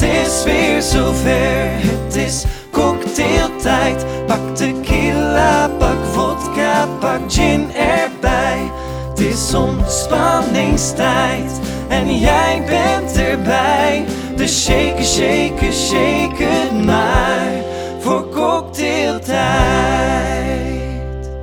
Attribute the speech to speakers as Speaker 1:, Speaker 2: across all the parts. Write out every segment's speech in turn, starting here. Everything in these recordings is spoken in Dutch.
Speaker 1: is weer zover. Het is cocktailtijd. Pak tequila, pak vodka, pak gin erbij. Het is ontspanningstijd en jij bent erbij. Dus shake, shake, shake het maar voor cocktailtijd.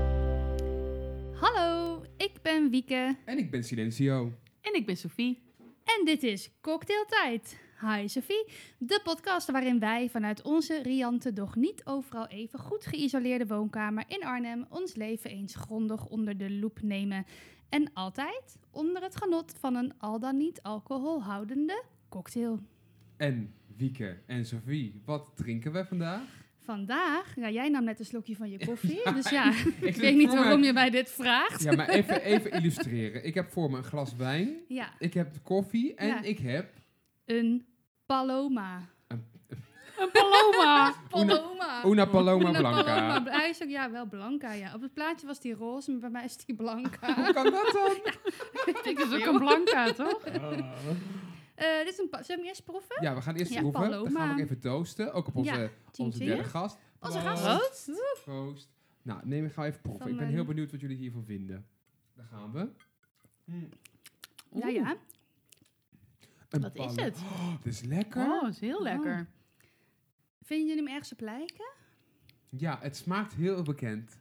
Speaker 2: Hallo, ik ben Wieke
Speaker 3: En ik ben Silencio.
Speaker 4: En ik ben Sophie.
Speaker 2: en dit is Cocktailtijd. Hi Sophie, de podcast waarin wij vanuit onze riante, doch niet overal even goed geïsoleerde woonkamer in Arnhem ons leven eens grondig onder de loep nemen. En altijd onder het genot van een al dan niet alcoholhoudende cocktail.
Speaker 3: En Wieke en Sophie, wat drinken we vandaag?
Speaker 2: Vandaag, ja, jij nam net een slokje van je koffie, dus ja, ik
Speaker 3: zit
Speaker 2: weet niet
Speaker 3: voor me-
Speaker 2: waarom je mij dit vraagt.
Speaker 3: Ja, maar even, even illustreren. Ik heb voor me een glas wijn,
Speaker 2: Ja,
Speaker 3: ik heb koffie en
Speaker 2: Ja.
Speaker 3: ik heb...
Speaker 2: een paloma.
Speaker 4: Een paloma!
Speaker 2: Paloma.
Speaker 3: Una Paloma
Speaker 2: Ah, Una
Speaker 3: Blanca.
Speaker 2: Paloma. Hij is ook, ja, wel Blanca, ja. Op het plaatje was die roze, maar bij mij is die Blanca.
Speaker 3: Hoe kan dat dan?
Speaker 4: ik is ook een blanca, toch?
Speaker 3: Ah.
Speaker 2: Eh, dit is een... pa- Zullen we hem eerst proeven?
Speaker 3: Ja, we gaan eerst
Speaker 2: Ja,
Speaker 3: proeven. Dan gaan
Speaker 2: Paloma.
Speaker 3: we ook even toosten. Ook op onze,
Speaker 2: Ja,
Speaker 3: onze
Speaker 2: team
Speaker 3: derde
Speaker 2: team.
Speaker 3: gast.
Speaker 2: Onze
Speaker 3: Proost.
Speaker 2: gast.
Speaker 3: Proost. Nou, neem ik ga even proeven.
Speaker 2: Van
Speaker 3: ik ben
Speaker 2: mijn-
Speaker 3: heel benieuwd wat jullie hiervan vinden. Daar gaan we. Mm,
Speaker 2: Ja, ja.
Speaker 3: een
Speaker 4: Wat is
Speaker 3: palo-
Speaker 4: het?
Speaker 3: Oh, dit is lekker.
Speaker 4: Oh, dat is heel lekker.
Speaker 2: Vinden jullie hem ergens op lijken?
Speaker 3: Ja, het smaakt heel bekend.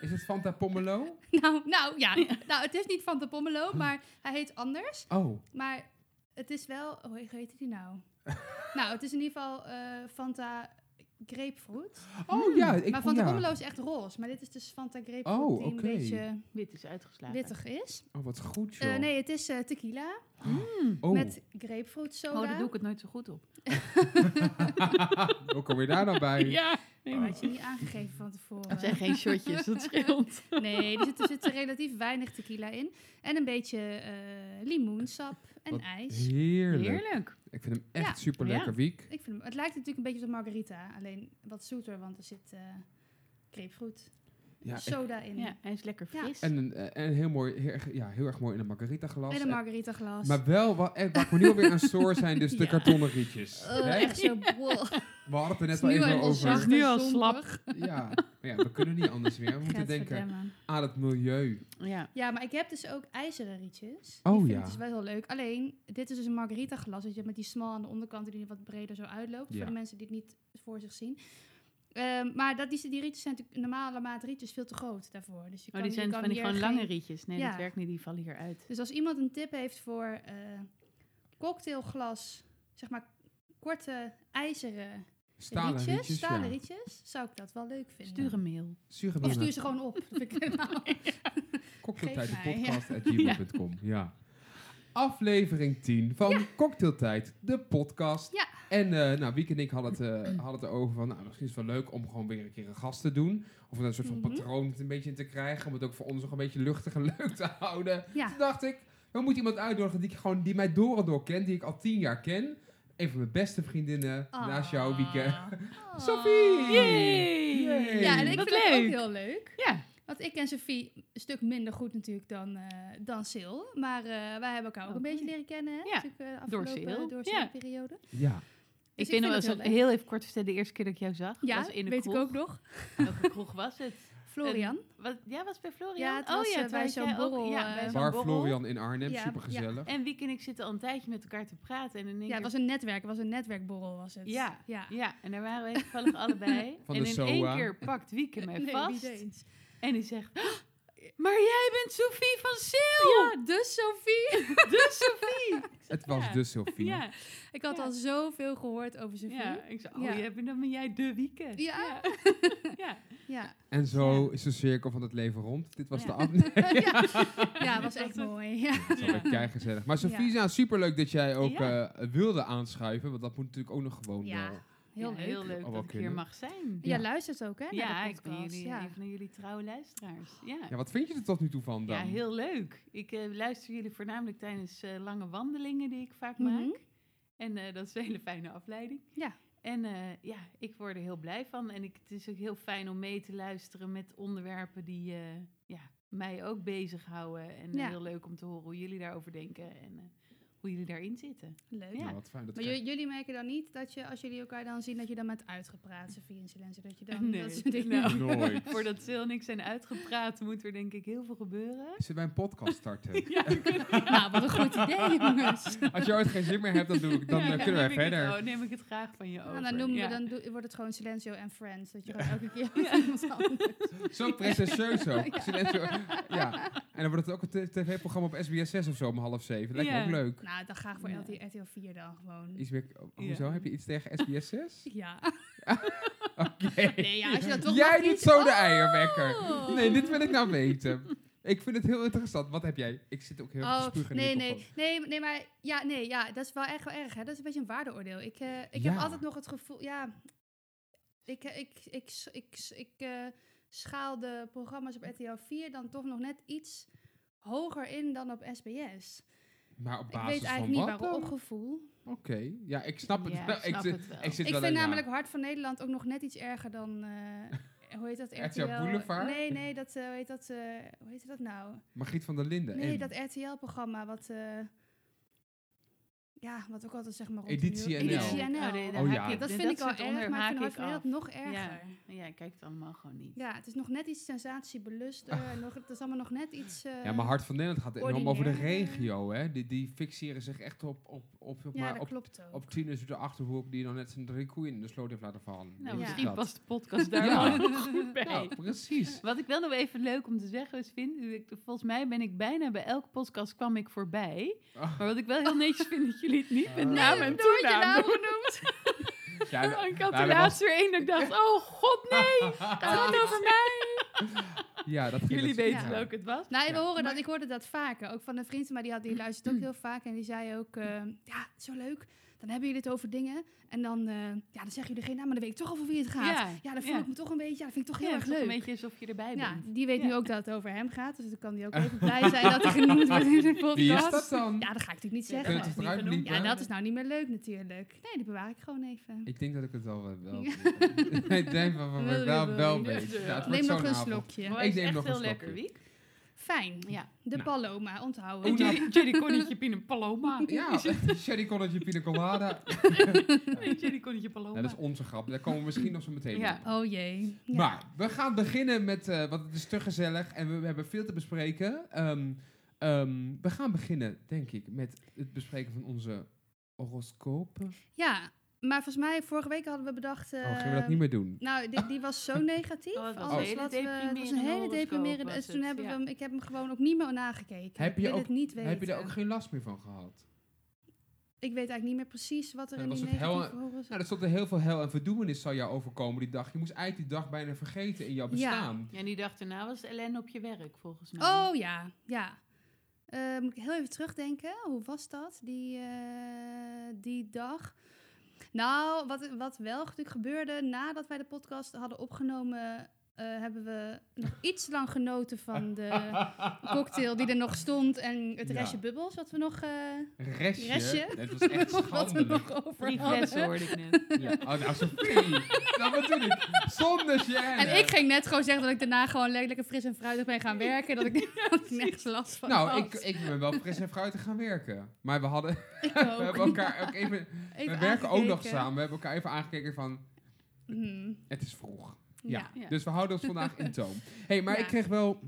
Speaker 3: Is het Fanta Pomelo?
Speaker 2: Nou, nou, ja. nou, het is niet van de Pomelo, maar hij heet anders.
Speaker 3: Oh,
Speaker 2: Maar het is wel... Oh, hoe heet die nou? nou, het is in ieder geval eh, Fanta grapefruit.
Speaker 3: oh ja. Ik
Speaker 2: maar
Speaker 3: vond
Speaker 2: Fanta
Speaker 3: ja.
Speaker 2: Pomelo is echt roze. Maar dit is dus Fanta grapefruit
Speaker 3: Oh,
Speaker 2: die een
Speaker 3: oké.
Speaker 2: beetje
Speaker 4: Wit is uitgeslagen.
Speaker 2: wittig is.
Speaker 3: Oh, wat goed
Speaker 2: Eh,
Speaker 3: joh.
Speaker 2: nee, het is eh, tequila
Speaker 3: oh.
Speaker 2: met grapefruit soda.
Speaker 4: Oh, daar doe ik het nooit zo goed op.
Speaker 3: Hoe kom je daar nou bij?
Speaker 4: Ja.
Speaker 2: Oh, had je niet aangegeven van tevoren.
Speaker 4: Dat zijn geen shotjes, dat scheelt.
Speaker 2: Nee, er zit, er zit relatief weinig tequila in. En een beetje eh, limoensap en
Speaker 3: Wat
Speaker 2: ijs.
Speaker 3: Heerlijk.
Speaker 4: Heerlijk.
Speaker 3: Ik vind hem echt
Speaker 2: Ja.
Speaker 3: super lekker,
Speaker 4: Ja.
Speaker 3: Wiek.
Speaker 2: Ik vind hem, het lijkt natuurlijk een beetje op een margarita. Alleen wat zoeter, want er zit eh grapefruit,
Speaker 3: Ja, echt.
Speaker 2: soda in.
Speaker 4: Ja, hij is lekker
Speaker 2: Ja.
Speaker 4: fris.
Speaker 3: En, een, eh, en heel mooi, heel, erg- ja, heel erg mooi in een margarita glas.
Speaker 2: En een margarita glas.
Speaker 3: maar wel, wa- eh, waar we nu alweer aan stoor zijn, dus de
Speaker 2: Ja. Oh,
Speaker 3: kartonnen rietjes. Hè?
Speaker 2: echt zo bol.
Speaker 3: We hadden het er net
Speaker 2: Het is
Speaker 3: al
Speaker 2: nu
Speaker 3: even
Speaker 2: al
Speaker 3: over.
Speaker 2: zacht.
Speaker 4: nu al
Speaker 2: en
Speaker 4: slap.
Speaker 2: zompig.
Speaker 3: Ja, maar ja, we kunnen niet anders meer. We moeten denken
Speaker 2: Gadverdamme.
Speaker 3: aan het milieu.
Speaker 4: Ja. Oh,
Speaker 2: Ja, maar ik heb dus ook ijzeren rietjes.
Speaker 3: Oh,
Speaker 2: die vind
Speaker 3: ja.
Speaker 2: ik dus wel heel leuk. Alleen, dit is dus een margarita glas. Dat je met die smal aan de onderkant die wat breder zo uitloopt.
Speaker 3: Ja.
Speaker 2: Voor de mensen die het niet voor zich zien. Ehm, maar dat, die, die rietjes zijn natuurlijk normale maat rietjes veel te groot daarvoor. Dus je
Speaker 4: Oh,
Speaker 2: kan,
Speaker 4: die
Speaker 2: je
Speaker 4: zijn
Speaker 2: kan
Speaker 4: van die
Speaker 2: hier
Speaker 4: gewoon
Speaker 2: geen-
Speaker 4: lange rietjes. Nee,
Speaker 2: Ja.
Speaker 4: dat werkt niet, die vallen hier uit.
Speaker 2: Dus als iemand een tip heeft voor eh, cocktailglas, zeg maar korte ijzeren
Speaker 3: Stalen
Speaker 2: rietjes,
Speaker 3: rietjes,
Speaker 2: stalen
Speaker 3: ja.
Speaker 2: rietjes, zou ik dat wel leuk vinden.
Speaker 4: Stuur een mail.
Speaker 3: Stuur
Speaker 2: Of
Speaker 3: gewoon
Speaker 2: stuur
Speaker 3: naar
Speaker 2: ze gewoon op. Dat vind ik helemaal-
Speaker 3: cocktailtijdepodcast.gmail.com. Ja. ja. Aflevering 10 van Cocktailtijd, de podcast.
Speaker 2: Ja.
Speaker 3: En eh, nou, Wiek en ik hadden het, eh, hadden het erover van, nou, misschien is het wel leuk om gewoon weer een keer een gast te doen. Of een soort van
Speaker 2: Mhm.
Speaker 3: patroon het een beetje in te krijgen, om het ook voor ons nog een beetje luchtig en leuk te houden.
Speaker 2: ja,
Speaker 3: Toen dacht ik, we moeten iemand uitnodigen die, ik gewoon, die mij door en door kent, die ik al tien jaar ken. Een van mijn beste vriendinnen, naast jou, Wieke.
Speaker 2: Ah.
Speaker 3: Sophie!
Speaker 4: Yay!
Speaker 3: Yay!
Speaker 2: Ja, en ik
Speaker 4: Wat
Speaker 2: vind het ook
Speaker 4: leuk.
Speaker 2: heel leuk.
Speaker 4: Ja.
Speaker 2: Want ik ken Sophie een stuk minder goed natuurlijk dan, eh dan Sil. Maar eh, wij hebben elkaar ook een
Speaker 4: Oké.
Speaker 2: beetje leren kennen. Hè?
Speaker 4: Ja,
Speaker 2: Natuurlijk, eh, de
Speaker 4: door
Speaker 2: afgelopen,
Speaker 4: Sil.
Speaker 2: Door
Speaker 4: Ja.
Speaker 2: Sil-periode.
Speaker 3: Ja.
Speaker 2: Dus
Speaker 4: ik vind nog wel
Speaker 2: het
Speaker 4: zo
Speaker 2: leuk.
Speaker 4: heel even kort vertellen, de eerste keer dat ik jou zag.
Speaker 2: Ja,
Speaker 4: was in de
Speaker 2: weet
Speaker 4: kroeg.
Speaker 2: ik ook nog.
Speaker 4: Welke kroeg was het?
Speaker 2: Florian.
Speaker 4: Wat, ja, was het bij Florian?
Speaker 2: Ja, het was,
Speaker 4: oh,
Speaker 2: eh,
Speaker 4: ja, toen
Speaker 2: bij
Speaker 4: had
Speaker 2: zo'n
Speaker 4: jij ook-
Speaker 2: borrel,
Speaker 4: Ja,
Speaker 2: eh,
Speaker 4: bij zo'n
Speaker 3: Bar
Speaker 4: borrel.
Speaker 3: Florian in Arnhem,
Speaker 2: Ja,
Speaker 3: super gezellig.
Speaker 4: En Wiek en ik zitten al een tijdje met elkaar te praten. En in
Speaker 2: ja,
Speaker 4: één
Speaker 2: het
Speaker 4: keer-
Speaker 2: was een netwerk. Het was een netwerkborrel was het.
Speaker 4: Ja.
Speaker 2: ja.
Speaker 4: ja, en daar waren we toevallig allebei.
Speaker 3: Van
Speaker 4: en
Speaker 3: de
Speaker 4: in
Speaker 3: SOA.
Speaker 4: één keer pakt Wieke mij
Speaker 2: Nee,
Speaker 4: vast.
Speaker 2: niet eens.
Speaker 4: en die zegt, "Oh, maar jij bent Sophie van Sil!
Speaker 2: Ja, dus Sophie.
Speaker 4: Dus Sophie! Ik zeg,
Speaker 3: Het was
Speaker 4: "Ja."
Speaker 3: dus Sophie.
Speaker 4: Ja,
Speaker 2: Ik had
Speaker 4: Ja.
Speaker 2: al zoveel gehoord over Sophie.
Speaker 4: ja,
Speaker 2: Ja.
Speaker 4: ik zei, oh,
Speaker 2: Ja.
Speaker 4: jij bent- dan ben jij de Wieke.
Speaker 2: Ja.
Speaker 4: Ja. ja.
Speaker 2: Ja.
Speaker 3: En zo is de cirkel van het leven rond. Dit was
Speaker 4: Ja.
Speaker 3: de aflevering.
Speaker 2: ja, was echt mooi. Ja.
Speaker 3: Dat was kei gezellig. Maar Sophie,
Speaker 2: Ja.
Speaker 3: nou, superleuk dat jij ook
Speaker 4: Ja.
Speaker 3: eh, wilde aanschuiven. Want dat moet natuurlijk ook nog gewoon
Speaker 2: Ja.
Speaker 3: wel.
Speaker 2: Heel
Speaker 4: Ja,
Speaker 2: leuk.
Speaker 4: heel
Speaker 3: Oh,
Speaker 4: leuk
Speaker 3: wel
Speaker 4: dat ik hier
Speaker 3: kunnen.
Speaker 4: mag zijn.
Speaker 2: Ja,
Speaker 3: Ja.
Speaker 2: luistert ook hè? naar
Speaker 4: Ja,
Speaker 2: de
Speaker 4: ik ben
Speaker 2: podcast.
Speaker 4: jullie,
Speaker 2: Ja.
Speaker 4: een van jullie trouwe luisteraars.
Speaker 3: Ja, wat vind je er tot nu toe van dan?
Speaker 4: Ja, heel leuk. Ik eh, luister jullie voornamelijk tijdens eh, lange wandelingen die ik vaak
Speaker 2: Mhm.
Speaker 4: maak. En eh, dat is een hele fijne afleiding.
Speaker 2: Ja.
Speaker 4: En eh, ja, ik word er heel blij van. En ik, het is ook heel fijn om mee te luisteren met onderwerpen die eh, ja, mij ook bezighouden. En eh,
Speaker 2: Ja.
Speaker 4: heel leuk om te horen hoe jullie daarover denken. En eh, hoe jullie daarin zitten.
Speaker 2: Leuk.
Speaker 4: Ja.
Speaker 3: Nou, wat fijn. Dat
Speaker 2: Maar
Speaker 3: krijg-
Speaker 2: j- jullie merken dan niet dat je, als jullie elkaar dan zien, dat je dan met uitgepraat, Sophie en Silencio, dat je dan...
Speaker 4: Nee,
Speaker 2: dat soort dingen-
Speaker 4: nou.
Speaker 3: Nooit.
Speaker 4: Voordat Sil en ik zijn uitgepraat, moet er denk ik heel veel gebeuren.
Speaker 3: Zullen wij een podcast starten?
Speaker 4: Ja,
Speaker 2: Nou, wat een goed idee, jongens.
Speaker 3: Als je ooit geen zin meer hebt, dan, doe ik, dan
Speaker 4: Ja,
Speaker 3: eh,
Speaker 4: ja,
Speaker 3: kunnen wij
Speaker 4: neem ik het-
Speaker 3: verder.
Speaker 4: oh, neem ik het graag van je over.
Speaker 3: Oh,
Speaker 2: Nou, dan, noemen
Speaker 4: Ja.
Speaker 2: we, dan doe- wordt het gewoon Silencio en Friends. Dat je gewoon elke keer met iemand anders-
Speaker 3: Zo pretentieus ook. Silencio- Ja. En dan wordt het ook een t- tv-programma op SBS 6 of zo om half zeven. Lijkt me
Speaker 4: Ja.
Speaker 3: ook leuk.
Speaker 2: Nou, dan graag voor
Speaker 4: Ja.
Speaker 2: LT RTL 4 dan gewoon.
Speaker 3: Iets meer, oh, hoezo?
Speaker 4: Ja.
Speaker 3: Heb je iets tegen SBS 6?
Speaker 2: Ja.
Speaker 3: Oké.
Speaker 2: Nee, ja, als je dat toch
Speaker 3: Jij
Speaker 2: mag
Speaker 3: niet
Speaker 2: niet-
Speaker 3: zo de eierwekker.
Speaker 2: Oh.
Speaker 3: Nee, dit wil ik nou weten. Ik vind het heel interessant. Wat heb jij? Ik zit ook heel erg te
Speaker 2: Oh,
Speaker 3: spugen in de
Speaker 2: nee,
Speaker 3: microfoon.
Speaker 2: nee, nee, nee, maar ja, nee, ja, dat is wel echt wel erg, hè? Dat is een beetje een waardeoordeel. Ik, eh, ik
Speaker 3: Ja.
Speaker 2: heb altijd nog het gevoel, ja, ik, eh, ik, ik, s- ik, s- ik, eh, schaal de programma's op RTL 4 dan toch nog net iets hoger in dan op SBS.
Speaker 3: Maar op
Speaker 2: Ik
Speaker 3: basis
Speaker 2: weet eigenlijk
Speaker 3: van
Speaker 2: niet
Speaker 3: wat
Speaker 2: waarom,
Speaker 3: dan?
Speaker 2: op gevoel.
Speaker 3: Oké. Ja, ik snap het
Speaker 4: Ja,
Speaker 3: wel.
Speaker 4: ik
Speaker 3: Ik
Speaker 4: snap
Speaker 3: zit-
Speaker 4: het wel.
Speaker 3: Ik, zit
Speaker 2: Ik
Speaker 3: wel
Speaker 2: vind
Speaker 3: ernaar.
Speaker 2: namelijk Hart van Nederland ook nog net iets erger dan, eh, hoe heet dat, RTL?
Speaker 3: RTL Boulevard?
Speaker 2: Nee, nee, dat, eh, hoe, heet dat, eh, hoe heet dat nou?
Speaker 3: Margriet van der Linden.
Speaker 2: Nee,
Speaker 3: en
Speaker 2: dat RTL-programma wat... eh, ja, wat ook altijd zeg maar...
Speaker 3: Editie
Speaker 2: rond de uur-
Speaker 3: NL.
Speaker 2: Editie NL.
Speaker 4: Oh, nee, daar
Speaker 3: Oh,
Speaker 4: haak
Speaker 3: ja.
Speaker 4: ik-
Speaker 2: dat
Speaker 4: dit-
Speaker 2: vind ik al
Speaker 4: soort
Speaker 2: erg,
Speaker 4: onder-
Speaker 2: maar ik
Speaker 4: haak
Speaker 2: vind Hart van
Speaker 4: af.
Speaker 2: Nederland nog
Speaker 4: Ja,
Speaker 2: erger.
Speaker 4: ja, ik kijk het allemaal gewoon niet.
Speaker 2: Ja, het is nog net iets sensatiebeluster. en nog, het is allemaal nog net iets... eh,
Speaker 3: Ah. Ja, maar Hart van Nederland gaat enorm over de
Speaker 2: ordinair.
Speaker 3: regio, hè. Die, die fixeren zich echt op, op, op, op,
Speaker 2: ja,
Speaker 3: maar
Speaker 2: dat
Speaker 3: op,
Speaker 2: klopt ook.
Speaker 3: op Tinus uit de Achterhoek die dan net zijn drie koeien in de sloot heeft laten vallen.
Speaker 4: Nou,
Speaker 2: Ja.
Speaker 4: misschien
Speaker 3: Dat.
Speaker 4: past de podcast daar
Speaker 3: Ja.
Speaker 4: wel goed bij.
Speaker 3: Ja, precies.
Speaker 4: Wat ik wel nog even leuk om te zeggen is, vind, ik- volgens mij ben ik bijna bij elke podcast kwam ik voorbij.
Speaker 3: Ah.
Speaker 4: Maar wat ik wel heel netjes vind, dat jullie het niet met
Speaker 3: Ah.
Speaker 4: naam
Speaker 2: Nee,
Speaker 4: en
Speaker 2: ik heb nooit je
Speaker 4: toenaam
Speaker 2: naam
Speaker 4: doen.
Speaker 3: nou.
Speaker 2: genoemd.
Speaker 3: Ja,
Speaker 2: Oh,
Speaker 3: Nou, we-
Speaker 4: Ik
Speaker 3: wij
Speaker 4: had de
Speaker 3: hebben
Speaker 4: laatst weer één dat ik dacht, oh god nee, gaat het over mij?
Speaker 3: al- ja, dat ging
Speaker 4: Jullie
Speaker 3: net-
Speaker 4: weten
Speaker 3: ja.
Speaker 4: welke het was.
Speaker 2: Nou, we
Speaker 3: Ja.
Speaker 2: horen dat. Ik hoorde dat vaker. Ook van een vriend, maar die, had, die luistert ook heel vaak. En die zei ook, eh, ja, zo leuk. Dan hebben jullie het over dingen. En dan, eh, ja, dan zeggen jullie geen naam, maar dan weet ik toch al voor wie het gaat. Ja,
Speaker 4: Ja,
Speaker 2: dan voel
Speaker 4: ja.
Speaker 2: ik me toch een beetje... Ja, dat vind ik toch heel
Speaker 4: Ja,
Speaker 2: erg
Speaker 4: het is toch
Speaker 2: leuk.
Speaker 4: een beetje alsof je erbij
Speaker 2: Ja,
Speaker 4: bent.
Speaker 2: die weet nu
Speaker 4: Ja.
Speaker 2: ook dat het over hem gaat. Dus dan kan die ook even blij zijn dat hij genoemd wordt in de podcast.
Speaker 3: Wie is dat dan?
Speaker 2: Ja, dat ga ik natuurlijk niet
Speaker 4: Ja,
Speaker 3: Kun
Speaker 2: zeggen.
Speaker 3: je
Speaker 4: dat
Speaker 3: het
Speaker 4: is niet
Speaker 3: eruit
Speaker 4: genoemd.
Speaker 3: bliepen?
Speaker 2: ja, dat is nou niet meer leuk natuurlijk. Nee, die bewaar ik gewoon even.
Speaker 3: Ik denk dat ik het wel wel- wel...
Speaker 2: Ja.
Speaker 3: Ik denk wel wel, wel, wel, wel weet. Ja, het wordt
Speaker 2: Neem nog
Speaker 3: zo'n
Speaker 2: een
Speaker 3: avond.
Speaker 4: Maar
Speaker 2: slokje.
Speaker 4: het is
Speaker 3: neem
Speaker 4: echt
Speaker 3: nog een
Speaker 4: heel lekker,
Speaker 3: slokje.
Speaker 4: Wiek.
Speaker 2: Fijn.
Speaker 4: Ja.
Speaker 2: De
Speaker 3: Nou.
Speaker 2: Paloma,
Speaker 3: Oeh,
Speaker 2: onthouden.
Speaker 3: nou.
Speaker 4: Jerry, Jerry Connetje Pina Paloma.
Speaker 3: Ja, sherry colletje pina colada.
Speaker 4: Nee, Jerry Connetje Paloma.
Speaker 3: Ja, dat is onze grap. Daar komen we misschien nog zo meteen
Speaker 4: Ja.
Speaker 3: op.
Speaker 2: Oh jee. Ja.
Speaker 3: Maar we gaan beginnen met, eh want het is te gezellig en we, we hebben veel te bespreken. Ehm, ehm, we gaan beginnen, denk ik, met het bespreken van onze horoscopen.
Speaker 2: ja, maar volgens mij, vorige week hadden we bedacht...
Speaker 3: oh, gaan we dat
Speaker 2: eh,
Speaker 3: niet meer doen?
Speaker 2: Nou, die, die was zo negatief.
Speaker 4: Oh, het was
Speaker 2: alles
Speaker 4: een hele
Speaker 2: wat we- het was een
Speaker 4: deprimerende
Speaker 2: hele
Speaker 4: horoscoop
Speaker 2: deprimerende.
Speaker 4: was
Speaker 2: Dus toen
Speaker 4: het,
Speaker 2: hebben we
Speaker 4: ja.
Speaker 2: hem, ik heb hem gewoon ook niet meer nagekeken.
Speaker 3: Heb
Speaker 2: ik
Speaker 3: je
Speaker 2: wil
Speaker 3: ook-
Speaker 2: het niet Ehm, weten.
Speaker 3: Heb je daar ook geen last meer van gehad?
Speaker 2: Ik weet eigenlijk niet meer precies wat er
Speaker 3: Ja,
Speaker 2: in
Speaker 3: was
Speaker 2: die
Speaker 3: het hel-
Speaker 2: negatieve horoscoop...
Speaker 3: Nou, er stond er heel veel hel en verdoemenis zou jou overkomen die dag. Je moest eigenlijk die dag bijna vergeten in jouw
Speaker 2: Ja.
Speaker 3: bestaan.
Speaker 4: Ja, die dag daarna was Ellen op je werk, volgens
Speaker 3: Mhm.
Speaker 4: mij.
Speaker 2: Oh ja, ja. Eh, moet ik heel even terugdenken. Hoe was dat, die, eh, die dag? Nou, wat, wat wel natuurlijk gebeurde nadat wij de podcast hadden opgenomen... eh, hebben we nog iets lang genoten van de cocktail die er nog stond... en het
Speaker 3: Ja.
Speaker 2: restje bubbels wat we nog, eh,
Speaker 3: Restje.
Speaker 2: Restje.
Speaker 3: Dat was echt
Speaker 2: wat we
Speaker 3: schandelijk.
Speaker 2: nog over
Speaker 4: Drie
Speaker 2: hadden.
Speaker 4: flessen hoorde ik net.
Speaker 3: Ja. Oh, nou, Sophie. dat bedoel ik. Zonder gêne.
Speaker 2: En ik ging net gewoon zeggen dat ik daarna gewoon le- lekker fris en fruitig ben gaan werken. Dat ik, dat ik nergens last van had.
Speaker 3: Nou, ik, ik ben wel fris en fruitig gaan werken. Maar we hadden...
Speaker 2: Ik
Speaker 3: We hebben
Speaker 2: ook.
Speaker 3: elkaar ook even...
Speaker 2: Oh. Even
Speaker 3: we werken ook nog
Speaker 2: aangekeken.
Speaker 3: samen. We hebben elkaar even aangekeken van...
Speaker 2: Mhm.
Speaker 3: Het is vroeg. Ja.
Speaker 2: Ja.
Speaker 4: Ja.
Speaker 3: Dus we houden ons vandaag in toom. hey, maar
Speaker 2: Ja.
Speaker 3: ik kreeg wel...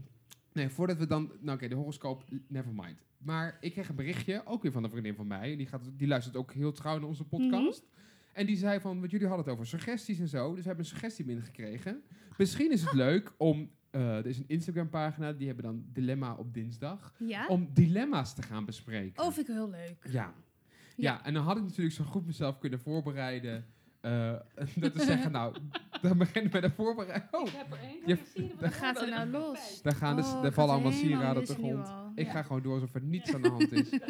Speaker 3: Nee, voordat we dan... Nou oké, de horoscoop, never mind. Maar ik kreeg een berichtje, ook weer van een vriendin van mij. Die, gaat, die luistert ook heel trouw naar
Speaker 2: Mhm.
Speaker 3: onze podcast. En die zei van, want jullie hadden het over suggesties en zo. Dus we hebben een suggestie binnengekregen. Misschien is het leuk om... eh, er is een Instagram pagina, die hebben dan Dilemma op dinsdag.
Speaker 2: ja.
Speaker 3: Om dilemma's te gaan bespreken.
Speaker 2: Oh, vind ik heel leuk.
Speaker 3: Ja.
Speaker 2: Ah. Ja.
Speaker 3: ja. en dan had ik natuurlijk zo goed mezelf kunnen voorbereiden. eh, dat te zeggen, nou, dan beginnen we met de voorbereiding. Oh,
Speaker 4: Ik heb er één.
Speaker 3: Je-
Speaker 4: Ik zie er wat
Speaker 2: Gaat er nou
Speaker 4: bij.
Speaker 2: los?
Speaker 3: daar gaan dus,
Speaker 2: Oh,
Speaker 3: daar
Speaker 2: ik
Speaker 3: vallen
Speaker 2: had
Speaker 3: allemaal
Speaker 2: helemaal
Speaker 3: sieraden op
Speaker 2: mis
Speaker 3: de
Speaker 2: nu
Speaker 3: grond.
Speaker 2: al.
Speaker 3: Ik
Speaker 2: Ja.
Speaker 3: ga gewoon door alsof er niets aan de hand is. ik